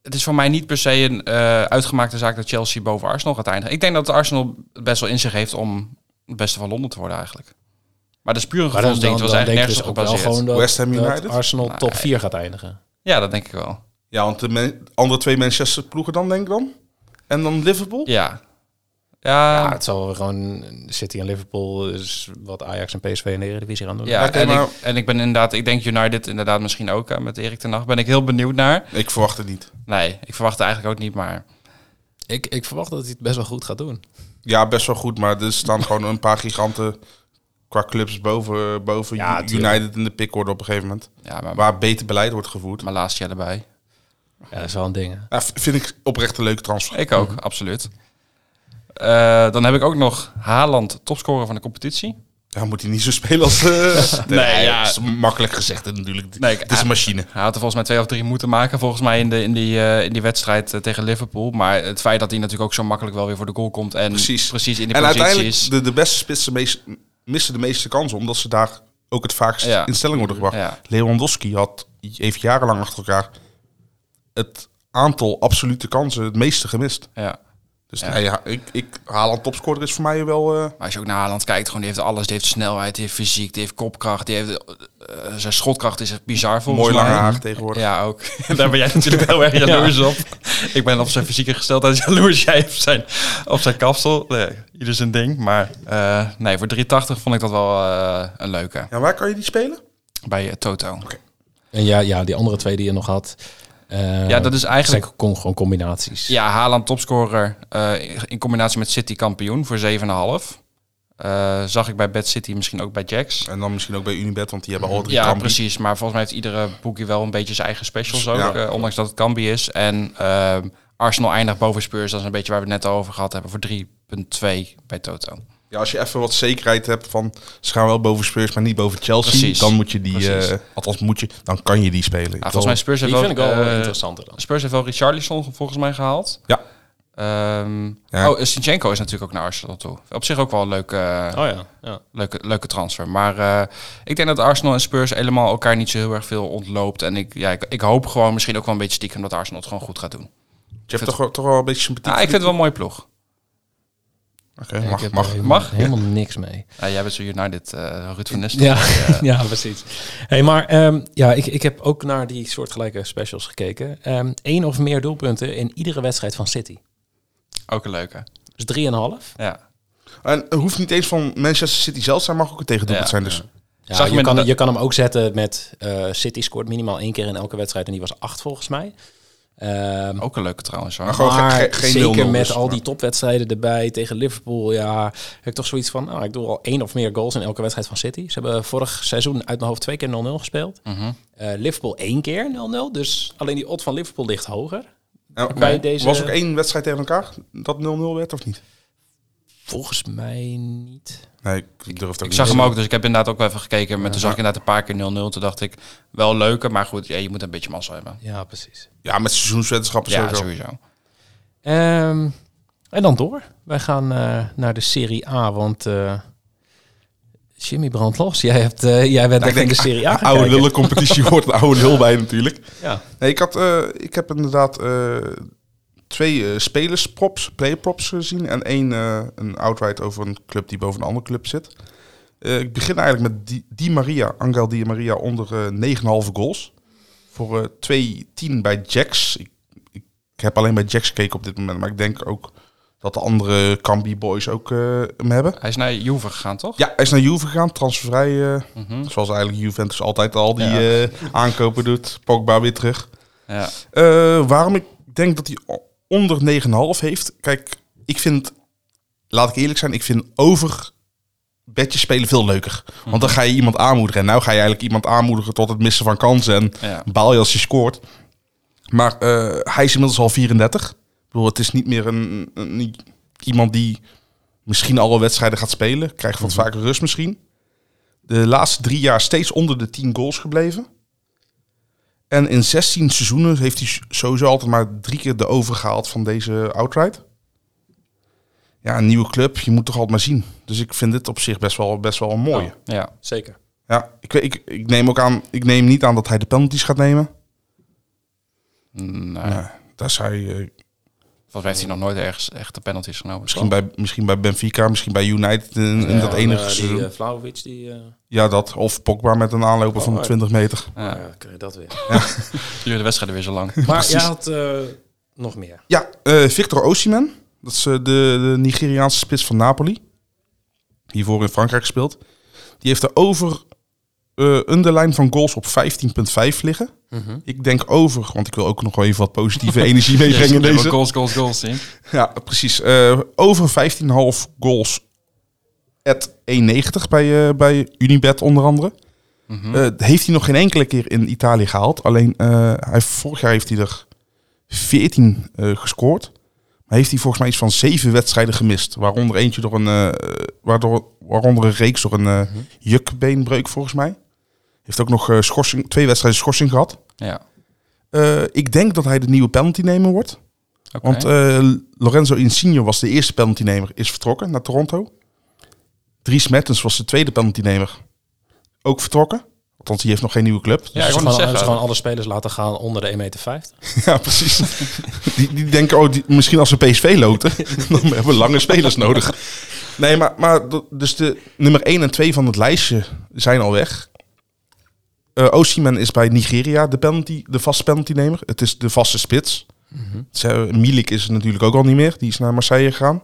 Speaker 9: het is voor mij niet per se een eh, uitgemaakte zaak dat Chelsea boven Arsenal gaat eindigen. Ik denk dat Arsenal het best wel in zich heeft om het beste van Londen te worden eigenlijk. Maar dat is puur een
Speaker 7: Maar dan,
Speaker 9: gevoelsding.
Speaker 7: dan,
Speaker 9: Het was
Speaker 7: dan denk
Speaker 9: eigenlijk
Speaker 7: je
Speaker 9: nergens
Speaker 7: dus
Speaker 9: op
Speaker 7: ook wel
Speaker 9: gebaseerd.
Speaker 7: gewoon dat,
Speaker 8: West Ham
Speaker 7: dat
Speaker 8: United?
Speaker 7: Arsenal
Speaker 9: Nou,
Speaker 7: top
Speaker 9: ja.
Speaker 7: 4 gaat eindigen.
Speaker 9: Ja, dat denk ik wel.
Speaker 8: Ja, want de men- andere twee Manchester ploegen dan, denk ik dan. En dan Liverpool.
Speaker 9: Ja. Ja,
Speaker 7: Ja, Ah, het zal wel gewoon City en Liverpool, dus wat Ajax en PSV in de Eredivisie gaan doen.
Speaker 9: ja,
Speaker 8: oké,
Speaker 9: en,
Speaker 8: maar-
Speaker 9: ik, en ik ben inderdaad, ik denk United inderdaad misschien ook eh, met Erik ten Nacht. Ben ik heel benieuwd naar.
Speaker 8: Ik verwacht het niet.
Speaker 9: Nee, ik verwacht het eigenlijk ook niet, maar
Speaker 7: Ik, ik verwacht dat hij het best wel goed gaat doen.
Speaker 8: Ja, best wel goed, maar er staan gewoon een paar giganten qua clubs boven, boven
Speaker 7: Ja,
Speaker 8: U-
Speaker 7: tuurlijk.
Speaker 8: United in de pickorde op een gegeven moment.
Speaker 9: ja, maar,
Speaker 8: Waar beter beleid wordt gevoerd.
Speaker 9: maar laatste jaar erbij.
Speaker 7: Ja, dat is wel een ding. hè.
Speaker 8: Ja, v- vind ik oprecht een leuke transfer.
Speaker 9: Ik ook, absoluut. Eh, dan heb ik ook nog Haaland, topscorer van de competitie.
Speaker 8: Ja, moet hij niet zo spelen als...
Speaker 9: *laughs*
Speaker 8: eh, nee,
Speaker 9: ja.
Speaker 8: dat is makkelijk gezegd hè, natuurlijk.
Speaker 9: Nee, eh, ik-
Speaker 8: het is een machine.
Speaker 9: Hij had er volgens mij twee of drie moeten maken, volgens mij, in, de, in, die, eh, in die wedstrijd eh, tegen Liverpool. Maar het feit dat hij natuurlijk ook zo makkelijk wel weer voor de goal komt. En
Speaker 8: Precies.
Speaker 9: in die
Speaker 8: En
Speaker 9: posities.
Speaker 8: uiteindelijk, de, de beste spitsen meest- missen de meeste kansen, omdat ze daar ook het vaakst
Speaker 9: Ja.
Speaker 8: in stelling worden gebracht.
Speaker 9: Ja.
Speaker 8: Lewandowski had, heeft jarenlang achter elkaar het aantal absolute kansen het meeste gemist.
Speaker 9: ja.
Speaker 8: Dus
Speaker 9: Ja.
Speaker 8: nee, ja, ik, ik haal een topscorer is voor mij wel... eh,
Speaker 9: Maar als je ook naar Haaland kijkt, gewoon, die heeft alles. Die heeft snelheid, die heeft fysiek, die heeft kopkracht. Die heeft, eh, zijn schotkracht is echt bizar volgens
Speaker 8: mooi
Speaker 9: mij.
Speaker 8: lange haar tegenwoordig.
Speaker 9: Ja, ook. *laughs* Daar ben jij natuurlijk heel erg jaloers op. Ik ben op zijn fysieke gesteldheid *laughs* jaloers. Jij op zijn, op zijn kapsel. Nee, ieder zijn ding. Maar eh, nee, voor 380 vond ik dat wel eh, een leuke.
Speaker 8: Ja, waar kan je die spelen?
Speaker 9: Bij eh, Toto.
Speaker 7: En ja, ja, die andere twee die je nog had. eh,
Speaker 9: Ja, dat is eigenlijk...
Speaker 7: zijn kon, gewoon combinaties.
Speaker 9: Ja, Haaland topscorer eh, in combinatie met City kampioen voor 7,5. Eh, zag ik bij Bad City misschien ook bij Jax.
Speaker 8: En dan misschien ook bij Unibet, want die hebben al drie
Speaker 9: Ja,
Speaker 8: kampen.
Speaker 9: precies. Maar volgens mij heeft iedere boekie wel een beetje zijn eigen specials ook.
Speaker 8: Ja.
Speaker 9: eh, ondanks dat het Kambi is. En ehm, Arsenal eindigt boven Spurs. Dat is een beetje waar we het net over gehad hebben. Voor 3,2 bij Toto. Nou,
Speaker 8: Ja, als je even wat zekerheid hebt van ze gaan wel boven Spurs, maar niet boven Chelsea,
Speaker 9: Precies.
Speaker 8: dan moet je die,
Speaker 9: Precies.
Speaker 8: eh, althans moet je, dan kan je die spelen.
Speaker 9: Ah, volgens mij Spurs
Speaker 7: die
Speaker 9: heeft
Speaker 7: vind ik wel
Speaker 9: eh,
Speaker 7: interessanter dan.
Speaker 9: Spurs heeft wel Richarlison volgens mij gehaald.
Speaker 8: Ja.
Speaker 9: Ehm,
Speaker 8: Ja.
Speaker 9: Oh, Sinchenko is natuurlijk ook naar Arsenal toe. Op zich ook wel een leuke,
Speaker 7: Oh ja, ja.
Speaker 9: leuke, leuke transfer. Maar eh, ik denk dat Arsenal en Spurs helemaal elkaar niet zo heel erg veel ontloopt. En ik, ja, ik, ik hoop gewoon misschien ook wel een beetje stiekem dat Arsenal het gewoon goed gaat doen.
Speaker 8: Je hebt toch, wel- toch wel een beetje sympathie.
Speaker 9: Ah, ik vind het wel een mooie ploeg.
Speaker 8: Oké,
Speaker 7: Ik
Speaker 8: mag,
Speaker 7: heb er
Speaker 8: mag.
Speaker 7: helemaal-
Speaker 9: Mag?
Speaker 7: Helemaal niks mee.
Speaker 9: Ja, jij bent zo United, eh Ruud van Nistelrooy.
Speaker 7: Ja, *laughs* ja, precies. Hey, maar ehm, ja, ik, ik heb ook naar die soortgelijke specials gekeken. Eén of meer doelpunten in iedere wedstrijd van City.
Speaker 9: Ook een leuke.
Speaker 7: Dus 3,5.
Speaker 9: Ja.
Speaker 8: En het hoeft niet eens van Manchester City zelf te zijn, mag ook een tegendoelpunt
Speaker 9: Ja,
Speaker 8: zijn. Dus
Speaker 7: Ja,
Speaker 9: Zag
Speaker 7: je,
Speaker 9: men
Speaker 7: kan,
Speaker 9: dat-
Speaker 7: je kan hem ook zetten met eh, City scoort minimaal één keer in elke wedstrijd. En die was 8 volgens mij. Ehm,
Speaker 9: Ook een leuke trouwens hoor.
Speaker 8: Maar gewoon ge-
Speaker 7: maar
Speaker 8: ge- geen
Speaker 7: zeker
Speaker 8: 0-0
Speaker 7: met
Speaker 8: dus,
Speaker 7: al
Speaker 8: maar-
Speaker 7: die topwedstrijden erbij tegen Liverpool. Ja, heb ik toch zoiets van, nou, ik doe al één of meer goals in elke wedstrijd van City. Ze hebben vorig seizoen uit mijn hoofd twee keer 0-0 gespeeld.
Speaker 8: Mhm.
Speaker 7: Eh, Liverpool één keer 0-0. Dus alleen die odd van Liverpool ligt hoger.
Speaker 8: En
Speaker 7: bij deze-
Speaker 8: was ook één wedstrijd tegen elkaar dat 0-0 werd of niet?
Speaker 7: Volgens mij niet.
Speaker 8: Nee, ik durf het ook
Speaker 9: Ik
Speaker 8: niet.
Speaker 9: zag hem ook, dus ik heb inderdaad ook wel even gekeken. Maar toen zag ik inderdaad een paar keer 0-0. Toen dacht ik, wel leuke, maar goed, ja, je moet een beetje massa hebben.
Speaker 7: Ja, precies.
Speaker 8: Ja, met seizoenswetenschappen
Speaker 9: Ja,
Speaker 8: sowieso.
Speaker 9: sowieso.
Speaker 7: Ehm, en dan door. Wij gaan eh, naar de Serie A, want eh, Jimmy brandt los. Jij, hebt, eh, jij bent
Speaker 8: Nou,
Speaker 7: echt in de Serie A gaan
Speaker 8: *laughs* oude
Speaker 7: kijken.
Speaker 8: lullencompetitie hoort een oude lul bij natuurlijk.
Speaker 7: Ja.
Speaker 8: Nee, ik, had, eh, ik heb inderdaad eh, twee eh, spelersprops, playerprops gezien. En één eh, een outright over een club die boven een andere club zit. Eh, ik begin eigenlijk met Di, Di Maria, Angel Di Maria onder eh 9,5 goals. Voor eh 2-10 bij Jax. Ik, ik, ik heb alleen bij Jax gekeken op dit moment. Maar ik denk ook dat de andere Cambi boys ook eh, hem hebben.
Speaker 9: Hij is naar Juve gegaan, toch?
Speaker 8: Ja, hij is naar Juve gegaan, transfervrij. eh, Zoals eigenlijk Juventus altijd al die eh, aankopen doet. Pogba weer terug.
Speaker 9: Ja.
Speaker 8: Eh, waarom ik denk dat hij o- onder 9,5 heeft. Kijk, ik vind, laat ik eerlijk zijn, ik vind over bedjes spelen veel leuker. Want dan ga je iemand aanmoedigen. En nou ga je eigenlijk iemand aanmoedigen tot het missen van kansen. En
Speaker 9: Ja.
Speaker 8: baal je als je scoort. Maar eh, hij is inmiddels al 34. Ik bedoel, het is niet meer een, een- iemand die misschien alle wedstrijden gaat spelen. Krijgt wat vaker rust misschien. De laatste drie jaar steeds onder de 10 goals gebleven. En in 16 seizoenen heeft hij sowieso altijd maar drie keer de overgehaald van deze outright. Ja, een nieuwe club, je moet toch altijd maar zien. Dus ik vind dit op zich best wel, best wel een mooie.
Speaker 9: Ja.
Speaker 7: Zeker.
Speaker 8: Ja, ik, weet- ik, ik neem ook aan, ik neem niet aan dat hij de penalties gaat nemen.
Speaker 9: Nee.
Speaker 8: Daar is hij eh,
Speaker 9: Volgens mij heeft hij nog nooit ergens echt de penalties genomen.
Speaker 7: Oh.
Speaker 8: Misschien bij, misschien bij Benfica, misschien bij United in, in dat enige
Speaker 7: Die
Speaker 8: seizoen.
Speaker 7: eh, Vlahovic, die... eh,
Speaker 8: Ja, dat. Of Pogba met een aanloper van
Speaker 7: Oh,
Speaker 8: 20 meter.
Speaker 9: Ja.
Speaker 7: nou ja, krijg je dat weer.
Speaker 9: Duurde de wedstrijden weer zo
Speaker 8: *laughs*
Speaker 9: lang.
Speaker 7: Maar jij had eh, nog meer.
Speaker 8: Ja, eh, Victor Osimhen. Dat is eh, de, de Nigeriaanse spits van Napoli. Hiervoor in Frankrijk gespeeld. Die heeft de over eh underline van goals op 15,5 liggen. Ik denk over, want ik wil ook nog wel even wat positieve energie meebrengen in
Speaker 9: Yes,
Speaker 8: deze.
Speaker 9: Goals, goals, goals. Sim.
Speaker 8: Ja, precies. Eh, over 15,5 goals at 1,90 bij, eh, bij Unibet onder andere. Eh, heeft hij nog geen enkele keer in Italië gehaald. Alleen eh, hij, vorig jaar heeft hij er 14 eh, gescoord. Maar heeft hij volgens mij iets van zeven wedstrijden gemist. Waaronder eentje door een, eh, waardoor, waaronder een reeks door een eh, jukbeenbreuk volgens mij. Heeft ook nog eh, schorsing, twee wedstrijden schorsing gehad.
Speaker 9: Ja.
Speaker 8: Eh, ik denk dat hij de nieuwe penalty nemer wordt.
Speaker 9: Oké.
Speaker 8: Want eh, Lorenzo Insigne was de eerste penaltynemer, is vertrokken naar Toronto. Dries Mertens was de tweede penaltynemer, ook vertrokken. Althans, die heeft nog geen nieuwe club.
Speaker 9: ja, ik
Speaker 7: dus
Speaker 9: wou
Speaker 7: gewoon,
Speaker 9: net zeggen.
Speaker 7: dus gewoon alle spelers laten gaan onder de 1,50 meter.
Speaker 8: *laughs* Ja, precies. die, die denken, oh, die- misschien als ze PSV loten, *laughs* dan hebben we lange spelers nodig. Nee, maar, maar d- dus de nummer 1 en 2 van het lijstje zijn al weg. Eh Osimhen is bij Nigeria de, penalty, de vaste penaltynemer. Het is de vaste spits. Ze- Milik is het natuurlijk ook al niet meer. Die is naar Marseille gegaan.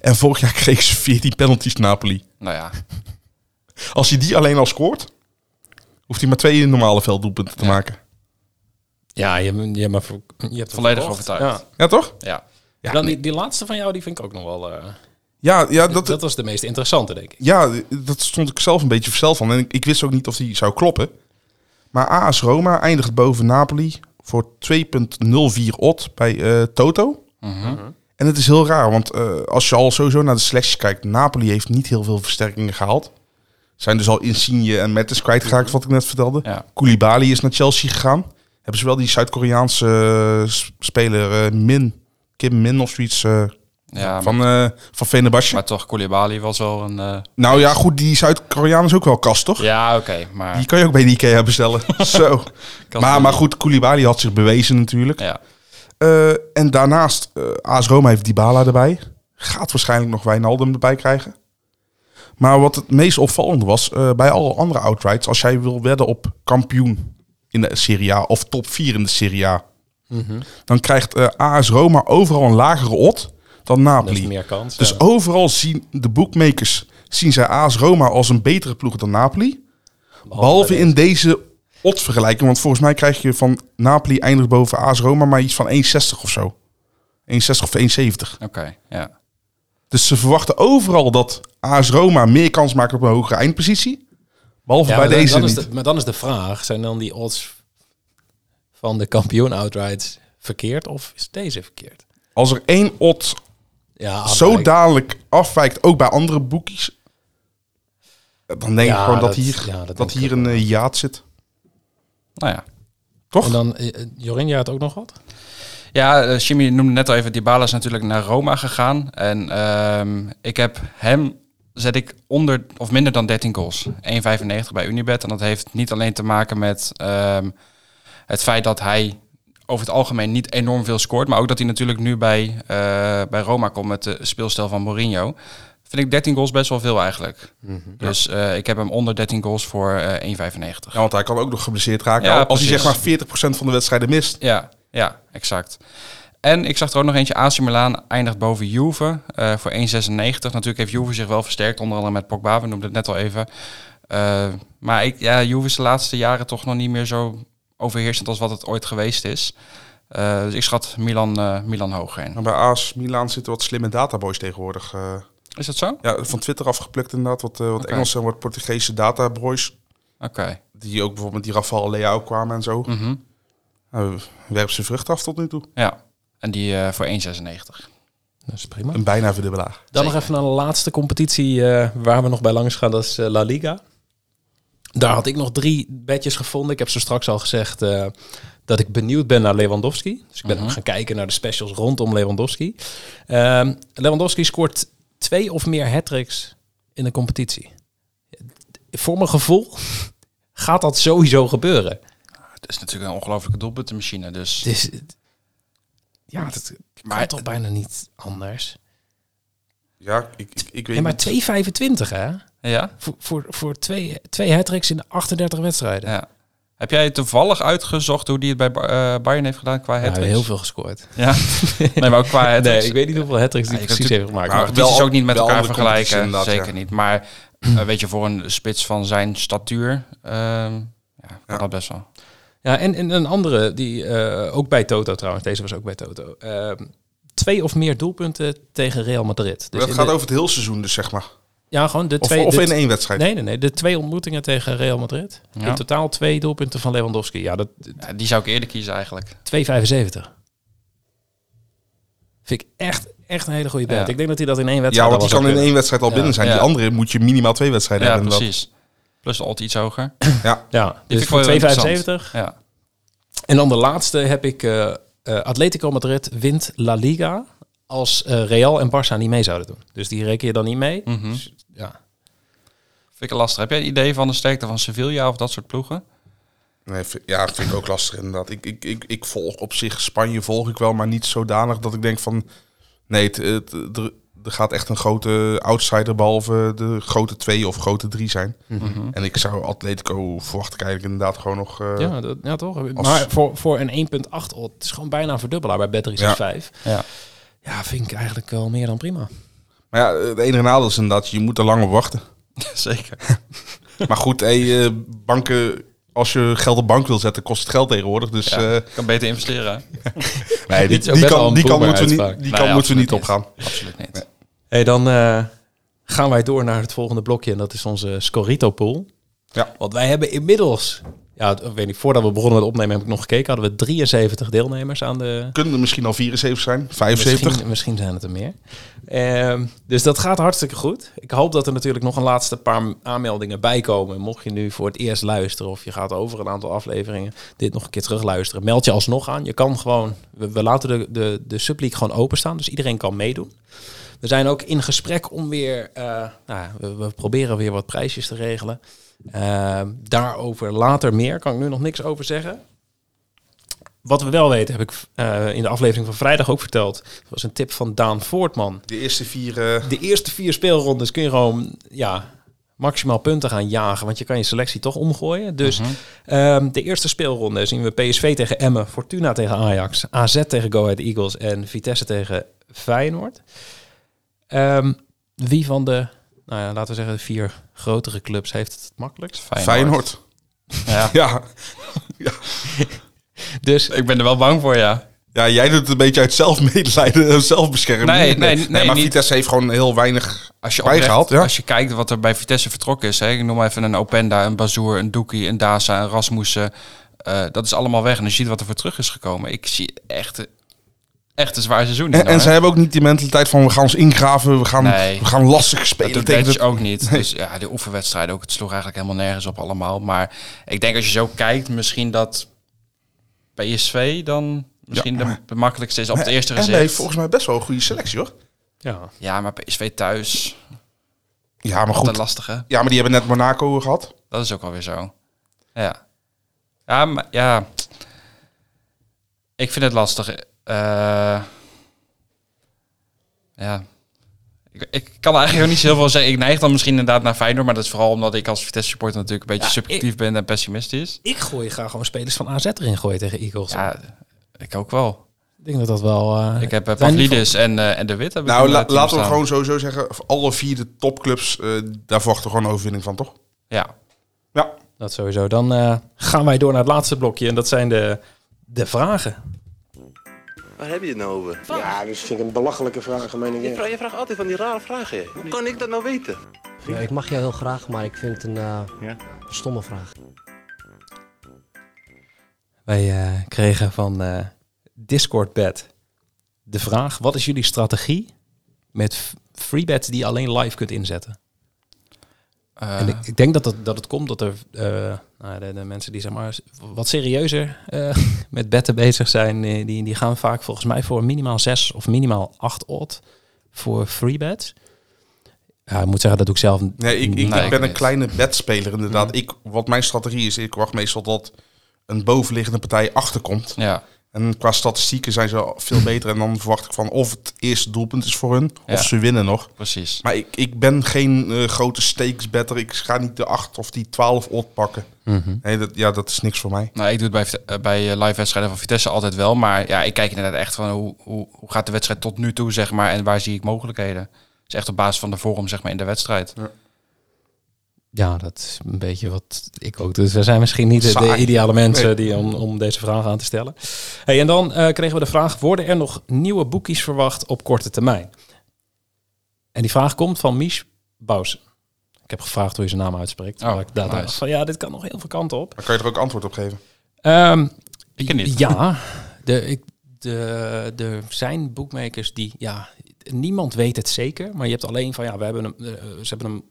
Speaker 8: En vorig jaar *laughs* kreeg ze 14 penalties Napoli.
Speaker 9: Nou ja,
Speaker 8: Als hij die alleen al scoort, hoeft hij maar twee normale velddoelpunten te
Speaker 9: Ja.
Speaker 8: maken.
Speaker 7: Ja, je, hebt- je, hebt me ver- je hebt me
Speaker 9: Volledig
Speaker 7: verkocht.
Speaker 9: overtuigd.
Speaker 8: Ja, toch?
Speaker 9: ja.
Speaker 7: Ja. Dan die, die laatste van jou, die vind ik ook nog wel... eh,
Speaker 8: Ja, ja
Speaker 7: dat,
Speaker 8: dat,
Speaker 7: was de meest interessante, denk ik.
Speaker 8: Ja, dat stond ik zelf een beetje versteld van. En ik, ik wist ook niet of die zou kloppen. Maar AS Roma eindigt boven Napoli voor 2.04 odd bij eh, Toto.
Speaker 9: Mhm.
Speaker 8: En het is heel raar, want eh, als je al sowieso naar de selectie kijkt... Napoli heeft niet heel veel versterkingen gehaald. Zijn dus al Insigne en Mertens kwijtgeraakt, wat ik net vertelde.
Speaker 9: Ja.
Speaker 8: Koulibaly is naar Chelsea gegaan. Hebben ze wel die Zuid-Koreaanse eh, s- speler eh, Min, Kim Min of zoiets... eh,
Speaker 9: ja
Speaker 8: van, eh van Venebasje.
Speaker 9: Maar toch, Koulibaly was wel een... eh,
Speaker 8: Nou ja, goed, die Zuid-Koreaan is ook wel kast, toch?
Speaker 9: Ja, oké, maar...
Speaker 8: Die kan je ook bij de
Speaker 7: *laughs*
Speaker 8: Ikea bestellen. Zo. Maar, maar goed, Koulibaly had zich bewezen natuurlijk.
Speaker 9: Ja,
Speaker 8: Eh, en daarnaast, eh AS Roma heeft Dybala erbij. Gaat waarschijnlijk nog Wijnaldum erbij krijgen. Maar wat het meest opvallend was, eh, bij alle andere outrights... als jij wil wedden op kampioen in de Serie A of top 4 in de Serie A...
Speaker 7: Mhm.
Speaker 8: dan krijgt eh, AS Roma overal een lagere odd dan
Speaker 7: Dat is
Speaker 8: Napoli.
Speaker 7: meer kans.
Speaker 8: Dus
Speaker 7: ja.
Speaker 8: overal zien de bookmakers zien zij AS Roma als een betere ploeg dan Napoli.
Speaker 7: Oh,
Speaker 8: Behalve in deze oddsvergelijking. Want volgens mij krijg je van Napoli eindigt boven AS Roma maar iets van 1,60 of zo. 1,60 of 1,70.
Speaker 9: oké, ja.
Speaker 8: Dus ze verwachten overal dat AS Roma meer kans maakt op een hogere eindpositie. Behalve
Speaker 7: Ja,
Speaker 8: bij
Speaker 7: maar dan-
Speaker 8: deze
Speaker 7: dan is
Speaker 8: niet.
Speaker 7: de- maar dan is de vraag, zijn dan die odds van de kampioen outrights verkeerd of is deze verkeerd?
Speaker 8: Als er één odd
Speaker 7: Ja,
Speaker 8: zo
Speaker 7: afwijkt.
Speaker 8: dadelijk afwijkt, ook bij andere boekies... Dan denk ik
Speaker 7: Ja,
Speaker 8: gewoon dat,
Speaker 7: dat-
Speaker 8: hier,
Speaker 7: ja, dat
Speaker 8: dat
Speaker 7: denk ik
Speaker 8: hier
Speaker 7: ook
Speaker 8: een eh, jaat zit.
Speaker 9: Nou ja.
Speaker 7: En dan, eh, eh, Jorin, jij had ook nog wat?
Speaker 9: Ja, eh, Jimmy noemde net al even, Dybala is natuurlijk naar Roma gegaan. En ehm, ik heb hem, zet ik onder of minder dan 13 goals. 1,95 bij Unibet. En dat heeft niet alleen te maken met ehm, het feit dat hij over het algemeen niet enorm veel scoort. Maar ook dat hij natuurlijk nu bij, eh, bij Roma komt met de speelstijl van Mourinho. Vind ik 13 goals best wel veel eigenlijk. Dus eh, ik heb hem onder 13 goals voor eh 1,95.
Speaker 8: Ja, want hij kan ook nog geblesseerd raken.
Speaker 9: Ja,
Speaker 8: als hij zeg maar
Speaker 9: precies.
Speaker 8: 40% van de wedstrijden mist.
Speaker 9: Ja, ja, exact. En ik zag er ook nog eentje, AC Milan eindigt boven Juve eh, voor 1,96. Natuurlijk heeft Juve zich wel versterkt, onder andere met Pogba, we noemden het net al even. Eh, maar ik, ja, Juve is de laatste jaren toch nog niet meer zo overheersend als wat het ooit geweest is. Eh, dus ik schat Milan, eh, Milan hoger in.
Speaker 8: Maar bij AS Milaan zitten wat slimme databoys tegenwoordig. eh.
Speaker 9: Is dat zo? Oké.
Speaker 8: ja, van Twitter afgeplukt inderdaad. Wat, eh, wat
Speaker 9: Oké.
Speaker 8: Engelse en wat Portugese databoys. Die ook bijvoorbeeld die Rafael Leao kwamen en zo.
Speaker 9: Mhm.
Speaker 8: Nou, werp ze vrucht af tot nu toe.
Speaker 9: Ja, en die eh, voor 1,96.
Speaker 7: Dat is prima.
Speaker 8: Een bijna verdubbelaar.
Speaker 7: Dan nog even naar de laatste competitie eh, waar we nog bij langs gaan. Dat is eh, La Liga. Daar had ik nog drie bedjes gevonden. Ik heb zo straks al gezegd eh, dat ik benieuwd ben naar Lewandowski. Dus ik ben ook gaan kijken naar de specials rondom Lewandowski. Ehm, Lewandowski scoort twee of meer hattricks in de competitie. Voor mijn gevoel *laughs* gaat dat sowieso gebeuren.
Speaker 9: Het is natuurlijk een ongelofelijke doelpuntenmachine, dus
Speaker 7: Het is, Ja, dat kan
Speaker 9: Maar-
Speaker 7: toch bijna niet anders.
Speaker 8: Ja, ik, ik, ik weet
Speaker 7: En maar
Speaker 8: niet.
Speaker 7: 2,25 hè?
Speaker 9: Ja?
Speaker 7: Voor, voor, voor twee, twee hat-tricks in de 38 wedstrijden.
Speaker 9: ja. Heb jij toevallig uitgezocht hoe die het bij Bar- eh, Bayern heeft gedaan qua
Speaker 7: Ja,
Speaker 9: hat
Speaker 7: heel veel gescoord.
Speaker 9: Ja? Nee, maar ook qua hat
Speaker 7: Nee, ik weet niet hoeveel hat-tricks die
Speaker 9: Ja, je
Speaker 7: precies
Speaker 9: kunt
Speaker 7: heeft gemaakt.
Speaker 8: Maar
Speaker 7: Maar
Speaker 9: Maar
Speaker 8: wel
Speaker 9: wel is ook
Speaker 8: op-
Speaker 9: niet met
Speaker 8: wel
Speaker 9: elkaar
Speaker 8: andere competities
Speaker 9: vergelijken.
Speaker 8: inderdaad,
Speaker 9: Zeker
Speaker 8: ja.
Speaker 9: niet. Maar eh, weet je, voor een spits van zijn statuur ehm, ja, kan
Speaker 8: Ja.
Speaker 9: dat best wel.
Speaker 7: Ja, en, en een andere, die eh, ook bij Toto trouwens, deze was ook bij Toto. Ehm, twee of meer doelpunten tegen Real Madrid. Dus
Speaker 8: Maar dat
Speaker 7: in
Speaker 8: gaat
Speaker 7: de-
Speaker 8: over het heel seizoen dus, zeg maar.
Speaker 7: Ja, gewoon de
Speaker 8: Of,
Speaker 7: twee.
Speaker 8: of
Speaker 7: de-
Speaker 8: in één wedstrijd.
Speaker 7: Nee, nee, nee. De twee ontmoetingen tegen Real Madrid.
Speaker 9: Ja.
Speaker 7: In totaal twee doelpunten van Lewandowski. Ja, dat
Speaker 9: Ja, die zou ik eerder kiezen eigenlijk.
Speaker 7: 2,75. Vind ik echt, echt een hele goede bet.
Speaker 9: Ja.
Speaker 7: Ik denk dat hij dat in één wedstrijd
Speaker 8: Ja,
Speaker 7: al
Speaker 8: want die
Speaker 7: wel
Speaker 8: kan in
Speaker 7: zou
Speaker 8: één wedstrijd al
Speaker 7: Ja.
Speaker 8: binnen zijn. Die
Speaker 9: Ja.
Speaker 8: andere moet je minimaal twee wedstrijden
Speaker 9: Ja,
Speaker 8: hebben. dan dat.
Speaker 9: precies. Plus de alt iets hoger.
Speaker 7: kunnen. Ja,
Speaker 9: vind
Speaker 7: dus
Speaker 9: ik wel heel
Speaker 7: voor 2,75.
Speaker 9: Ja.
Speaker 7: En dan de laatste heb ik... eh, eh, Atletico Madrid wint La Liga als eh, Real en Barça niet mee zouden doen. Dus die reken je dan niet mee.
Speaker 9: Mhm.
Speaker 7: Ja.
Speaker 9: Vind ik lastig. Heb jij een idee van de sterkte van Sevilla of dat soort ploegen?
Speaker 8: Nee, vind- ja, vind ik ook lastig inderdaad. Ik, ik, ik, ik volg op zich Spanje volg ik wel, maar niet zodanig dat ik denk van... Nee, het, het- er, er gaat echt een grote outsider behalve de grote twee of grote drie zijn.
Speaker 7: Mhm.
Speaker 8: En ik zou Atletico verwacht ik eigenlijk inderdaad gewoon nog... eh,
Speaker 7: Ja, dat, ja, toch?
Speaker 8: Als-
Speaker 7: Maar voor, voor een 1.8 odd, oh, het is gewoon bijna een verdubbelaar bij Battery
Speaker 8: Ja.
Speaker 7: 5.
Speaker 9: Ja.
Speaker 7: ja, vind ik eigenlijk wel meer dan prima.
Speaker 8: Maar ja, het enige nadeel is inderdaad, je moet er lang op
Speaker 7: *laughs*
Speaker 8: wachten.
Speaker 9: Zeker.
Speaker 8: maar goed, hey, eh, banken... Als je geld op bank wil zetten, kost het geld tegenwoordig. Dus eh,
Speaker 9: Kan beter investeren. hè?
Speaker 8: nee, die,
Speaker 7: Dit is ook
Speaker 8: die
Speaker 7: best wel
Speaker 8: kan,
Speaker 7: een
Speaker 8: die kan
Speaker 7: boomer
Speaker 8: moeten we
Speaker 7: uitspraak. Nou
Speaker 8: niet, die
Speaker 9: Nee,
Speaker 8: kan moeten we niet
Speaker 9: absoluut
Speaker 8: opgaan.
Speaker 9: Absoluut niet.
Speaker 7: Hey, dan eh, gaan wij door naar het volgende blokje. En dat is onze Scorito pool.
Speaker 8: Ja.
Speaker 7: Want wij hebben inmiddels... Ja, ik weet niet, voordat we begonnen met opnemen heb ik nog gekeken. Hadden we 73 deelnemers aan de...
Speaker 8: Kunnen er misschien al 74 zijn, 75.
Speaker 7: Misschien, misschien zijn het er meer. Ehm, dus dat gaat hartstikke goed. Ik hoop dat er natuurlijk nog een laatste paar m- aanmeldingen bij komen. Mocht je nu voor het eerst luisteren of je gaat over een aantal afleveringen dit nog een keer terugluisteren, meld je alsnog aan. Je kan gewoon, we, we laten de, de, de subleague gewoon openstaan, dus iedereen kan meedoen. We zijn ook in gesprek om weer, eh, nou, ja, we, we proberen weer wat prijsjes te regelen. Ehm, daarover later meer, kan ik nu nog niks over zeggen. Wat we wel weten, heb ik eh, in de aflevering van vrijdag ook verteld. Dat was een tip van Daan Voortman.
Speaker 8: De eerste vier... eh,
Speaker 7: De eerste vier speelrondes kun je gewoon ja, maximaal punten gaan jagen. Want je kan je selectie toch omgooien. Dus ehm, de eerste speelronde zien we PSV tegen Emmen, Fortuna tegen Ajax, AZ tegen Go Ahead Eagles en Vitesse tegen Feyenoord. Ehm, wie van de, nou ja, laten we zeggen, de vier grotere clubs heeft het het makkelijkst?
Speaker 8: Feyenoord.
Speaker 9: Ja.
Speaker 8: *laughs* Ja.
Speaker 7: Dus
Speaker 9: Ik ben er wel bang voor, ja.
Speaker 8: ja, jij doet het een beetje uit zelfmedelijden *laughs* en zelfbescherming.
Speaker 9: Nee, nee, nee,
Speaker 8: maar
Speaker 9: niet.
Speaker 8: Vitesse heeft gewoon heel weinig...
Speaker 9: Als je,
Speaker 8: Bijgehaald,
Speaker 9: oprecht-
Speaker 8: ja.
Speaker 9: als je kijkt wat er bij Vitesse vertrokken is. Hè, ik noem maar even een Openda, een Bazoer, een Doekie, een Daza, een Rasmussen. eh, dat is allemaal weg. En dan zie je wat er voor terug is gekomen. Ik zie echt, echt een zwaar seizoen.
Speaker 8: En,
Speaker 9: hierna,
Speaker 8: en
Speaker 9: hè.
Speaker 8: ze hebben ook niet die mentaliteit van we gaan ons ingraven, we gaan,
Speaker 9: Nee.
Speaker 8: we gaan lastig
Speaker 9: Dat
Speaker 8: spelen
Speaker 9: doet
Speaker 8: tegen
Speaker 9: Dutch
Speaker 8: het...
Speaker 9: ook niet. Dus ja, de oefenwedstrijden ook. Het sloeg eigenlijk helemaal nergens op allemaal. Maar ik denk als je zo kijkt, misschien dat PSV dan misschien de, de makkelijkste is op het eerste
Speaker 8: En hij heeft
Speaker 9: gezicht.
Speaker 8: volgens mij best wel een goede selectie, hoor.
Speaker 7: ja,
Speaker 9: Ja, maar PSV thuis,
Speaker 8: Ja, maar
Speaker 9: dat
Speaker 8: goed.
Speaker 9: lastige.
Speaker 8: Ja, maar die hebben net Monaco gehad.
Speaker 9: Dat is ook alweer zo. Ja. Ja, maar ja. Ik vind het lastig. Eh, ja. Ik, ik kan eigenlijk ook niet zo heel veel zeggen. Ik neig dan misschien inderdaad naar Feyenoord, maar dat is vooral omdat ik als Vitesse supporter natuurlijk een beetje
Speaker 7: Ja,
Speaker 9: subjectief ben en pessimistisch.
Speaker 7: ik gooi graag gewoon spelers van AZ erin gooien tegen Eagles.
Speaker 9: Ja, ik ook wel.
Speaker 7: Ik denk dat dat wel... eh,
Speaker 9: Ik heb uh,
Speaker 7: zijn die
Speaker 9: Pavlidis en, eh, en De Wit hebben
Speaker 8: Nou, la- laten we gewoon sowieso zeggen, voor alle vier de topclubs, eh, daar verwachten we gewoon een overwinning van, toch?
Speaker 9: Ja,
Speaker 8: Ja.
Speaker 7: Dat sowieso. Dan eh, gaan wij door naar het laatste blokje. En dat zijn de, de vragen.
Speaker 11: Waar heb je het nou over?
Speaker 4: Ja, dat vind ik een belachelijke vraag, meen ik.
Speaker 11: Je vraagt, je vraagt altijd van die rare vragen. hè. Hoe kan ik dat nou weten?
Speaker 12: ik mag jou heel graag, maar ik vind het een stomme vraag.
Speaker 7: Wij eh, kregen van eh Discord Bed de vraag: wat is jullie strategie met f- free bets die je alleen live kunt inzetten?
Speaker 9: eh,
Speaker 7: en ik, ik denk dat, dat, dat het komt dat er eh, nou, ja, de, de mensen die zeg maar s- wat serieuzer eh, *laughs* met betten bezig zijn, eh, die, die gaan vaak volgens mij voor minimaal 6 of minimaal 8 odd voor free bets. Ja, ik moet zeggen, dat doe ik zelf.
Speaker 8: Nee, ik, ik,
Speaker 9: Nee, Mm.
Speaker 8: ik
Speaker 9: ik
Speaker 8: ben een
Speaker 9: niet.
Speaker 8: kleine bedspeler inderdaad. Ik, wat mijn strategie is, ik wacht meestal dat een bovenliggende partij achterkomt.
Speaker 9: ja.
Speaker 8: En qua statistieken zijn ze veel beter. En dan verwacht ik van of het eerste doelpunt is voor hun,
Speaker 9: Ja.
Speaker 8: of ze winnen nog.
Speaker 9: Precies.
Speaker 8: Maar ik, ik ben geen eh, grote stakes better. Ik ga niet de 8 of die 12 odd pakken.
Speaker 9: Mhm.
Speaker 8: Nee, dat, ja, dat is niks voor mij.
Speaker 9: Nou, ik doe het bij, Vite- eh, bij eh, live wedstrijden van Vitesse altijd wel. Maar ja, ik kijk inderdaad echt van hoe, hoe, hoe gaat de wedstrijd tot nu toe, zeg maar. En waar zie ik mogelijkheden. Het is echt op basis van de vorm, zeg maar, in de wedstrijd.
Speaker 7: Ja, dat is een beetje wat ik ook doe. Dus we zijn misschien niet de, de
Speaker 9: Saai.
Speaker 7: ideale mensen
Speaker 9: Nee.
Speaker 7: die om, om deze vraag aan te stellen. Hey, en dan eh, kregen we de vraag, worden er nog nieuwe boekies verwacht op korte termijn? En die vraag komt van Mies Bouwsen. Ik heb gevraagd hoe je zijn naam uitspreekt.
Speaker 8: Oh,
Speaker 7: maar ik dacht
Speaker 8: nice.
Speaker 7: dacht van ja, dit kan nog heel veel kanten op.
Speaker 8: Maar kan je er ook antwoord op geven?
Speaker 7: Ehm,
Speaker 9: Ik niet.
Speaker 7: Ja, de, ik, de, er zijn boekmakers die, ja, niemand weet het zeker, maar je hebt alleen van, ja, we hebben hem, eh, ze hebben hem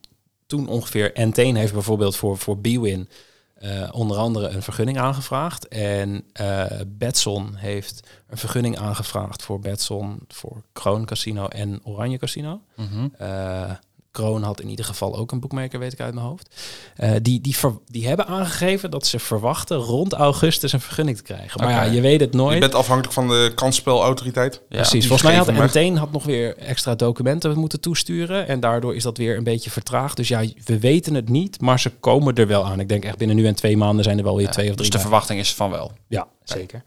Speaker 7: toen ongeveer, Enteen heeft bijvoorbeeld voor, voor Bwin eh, onder andere een vergunning aangevraagd en eh Betson heeft een vergunning aangevraagd voor Betson, voor Kroon Casino en Oranje Casino.
Speaker 9: Mhm.
Speaker 7: Eh, Kroon had in ieder geval ook een boekmaker, weet ik uit mijn hoofd. Eh, die, die, ver- die hebben aangegeven dat ze verwachten rond augustus een vergunning te krijgen. Maar ja,
Speaker 8: Oké.
Speaker 7: je weet het nooit.
Speaker 8: Je bent afhankelijk van de kansspelautoriteit. Die
Speaker 7: Precies, volgens mij had
Speaker 8: geven hem weg.
Speaker 7: Enteen had nog weer extra documenten moeten toesturen. En daardoor is dat weer een beetje vertraagd. Dus ja, we weten het niet, maar ze komen er wel aan. Ik denk echt binnen nu en twee maanden zijn er wel weer twee of
Speaker 9: Dus
Speaker 7: drie.
Speaker 9: de
Speaker 7: bij.
Speaker 9: verwachting is van wel.
Speaker 7: Ja, zeker.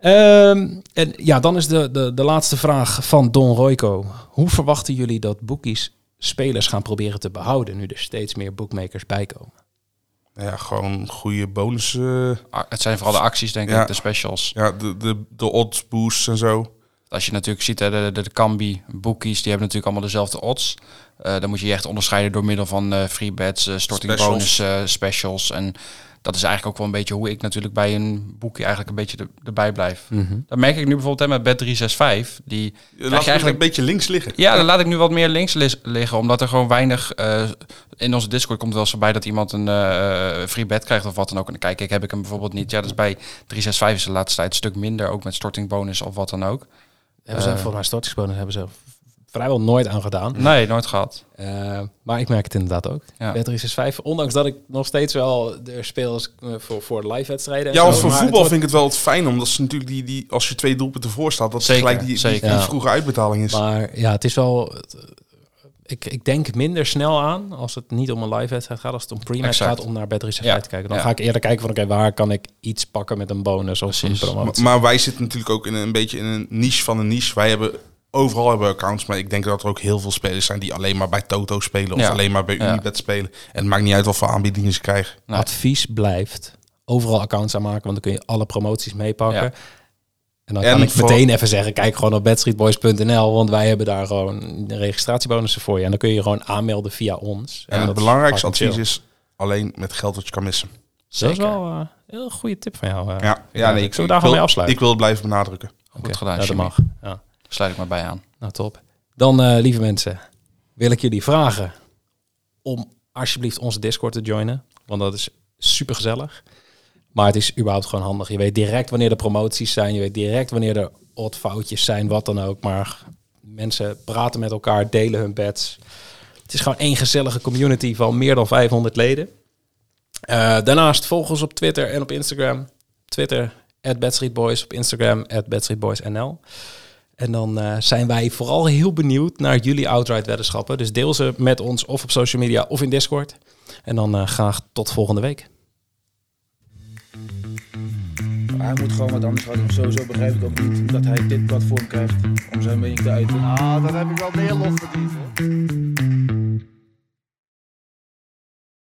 Speaker 7: Ehm, en ja, dan is de, de, de laatste vraag van Don Royco. Hoe verwachten jullie dat boekies spelers gaan proberen te behouden nu er steeds meer bookmakers bijkomen?
Speaker 8: Nou Ja, gewoon goede bonussen.
Speaker 9: Het zijn vooral de acties, denk
Speaker 8: Ja.
Speaker 9: ik, de specials.
Speaker 8: Ja, de, de, de odds boosts en zo.
Speaker 9: Als je natuurlijk ziet, hè, de, de, de Kambi, Bookies, die hebben natuurlijk allemaal dezelfde odds. Eh, dan moet je je echt onderscheiden door middel van eh, free bets, eh, storting
Speaker 8: Specials.
Speaker 9: bonus, eh, specials. En dat is eigenlijk ook wel een beetje hoe ik natuurlijk bij een boekje eigenlijk een beetje er- erbij blijf.
Speaker 7: Mhm.
Speaker 9: Dat merk ik nu bijvoorbeeld hè, met Bet365. Die
Speaker 8: Laat
Speaker 9: krijg je
Speaker 8: eigenlijk
Speaker 9: eigenlijk
Speaker 8: een beetje links liggen.
Speaker 9: Ja, dan laat ik nu wat meer links lis- liggen, omdat er gewoon weinig... eh, in onze Discord komt wel eens voorbij dat iemand een eh, free bet krijgt of wat dan ook. En dan kijk ik, heb ik hem bijvoorbeeld niet. Ja, dat is bij 365 is de laatste tijd een stuk minder, ook met stortingbonus of wat dan ook.
Speaker 7: Hebben ze
Speaker 9: Eh,
Speaker 7: volgens mij stortingsbonus hebben ze vrijwel nooit aan gedaan.
Speaker 9: Nee, nooit gehad.
Speaker 7: Eh, maar ik merk het inderdaad ook.
Speaker 9: Ja.
Speaker 7: Battery 65, ondanks dat ik nog steeds wel de spelers eh, voor, voor live wedstrijden. en
Speaker 8: Ja,
Speaker 7: zo,
Speaker 8: want voor
Speaker 7: maar
Speaker 8: voetbal
Speaker 7: het
Speaker 8: vind ik het wel het fijn, omdat ze natuurlijk die, die als je twee doelpunten voor staat, dat
Speaker 9: Zeker,
Speaker 8: gelijk die, die- die,
Speaker 9: zeker.
Speaker 7: Ja.
Speaker 8: vroege uitbetaling is.
Speaker 7: Maar ja, het is wel. Ik, ik denk minder snel aan als het niet om een live wedstrijd gaat, als het om pre-match
Speaker 9: Exact.
Speaker 7: gaat om naar Battery 65
Speaker 9: Ja,
Speaker 7: te kijken. Dan
Speaker 9: ja.
Speaker 7: ga ik eerder kijken van oké, waar kan ik iets pakken met een bonus of
Speaker 9: Precies.
Speaker 7: een
Speaker 8: maar,
Speaker 7: promotie.
Speaker 8: maar wij zitten natuurlijk ook in een, een beetje in een niche van een niche. Wij hebben overal hebben we accounts, maar ik denk dat er ook heel veel spelers zijn die alleen maar bij Toto spelen of
Speaker 9: Ja.
Speaker 8: alleen maar bij
Speaker 9: Ja.
Speaker 8: Unibet spelen. En het maakt niet uit wat voor aanbiedingen ze krijgen.
Speaker 9: Nee.
Speaker 7: Advies blijft overal accounts aanmaken, want dan kun je alle promoties meepakken.
Speaker 9: Ja.
Speaker 7: En dan
Speaker 8: En
Speaker 7: kan ik
Speaker 8: voor-
Speaker 7: meteen even zeggen, kijk gewoon op bedstreetboys.nl, want wij hebben daar gewoon registratiebonussen voor je. En dan kun je je gewoon aanmelden via ons.
Speaker 8: En het
Speaker 7: dat is
Speaker 8: belangrijkste
Speaker 7: fucking
Speaker 8: advies
Speaker 7: chill.
Speaker 8: is alleen met geld wat je kan missen.
Speaker 7: Dat is
Speaker 9: Zeker.
Speaker 7: wel eh, een heel goede tip van jou. eh.
Speaker 8: Ja, ja
Speaker 7: Zullen we
Speaker 8: nee, ik,
Speaker 7: daar
Speaker 8: ik wil,
Speaker 7: gewoon mee afsluiten?
Speaker 8: Ik wil het blijven benadrukken.
Speaker 9: Goed
Speaker 7: Oké,
Speaker 9: gedaan,
Speaker 7: ja, dat
Speaker 9: Jimmy.
Speaker 7: mag. Ja.
Speaker 9: Sluit ik maar bij aan.
Speaker 7: Nou, top. Dan, eh, lieve mensen, wil ik jullie vragen om alsjeblieft onze Discord te joinen. Want dat is super gezellig. Maar het is überhaupt gewoon handig. Je weet direct wanneer de promoties zijn. Je weet direct wanneer er odd foutjes zijn, wat dan ook. Maar mensen praten met elkaar, delen hun bets. Het is gewoon één gezellige community van meer dan 500 leden. Eh, daarnaast volg ons op Twitter en op Instagram. Twitter, at Boys. Op Instagram, at NL. En dan eh, zijn wij vooral heel benieuwd naar jullie outright weddenschappen. Dus deel ze met ons of op social media of in Discord. En dan eh, graag tot volgende week.
Speaker 4: Maar hij moet gewoon wat anders gaan doen. Sowieso begrijp ik ook niet dat hij dit platform krijgt om zijn mening te uiten.
Speaker 10: Ah, dat heb ik wel meer lof verdiend hoor.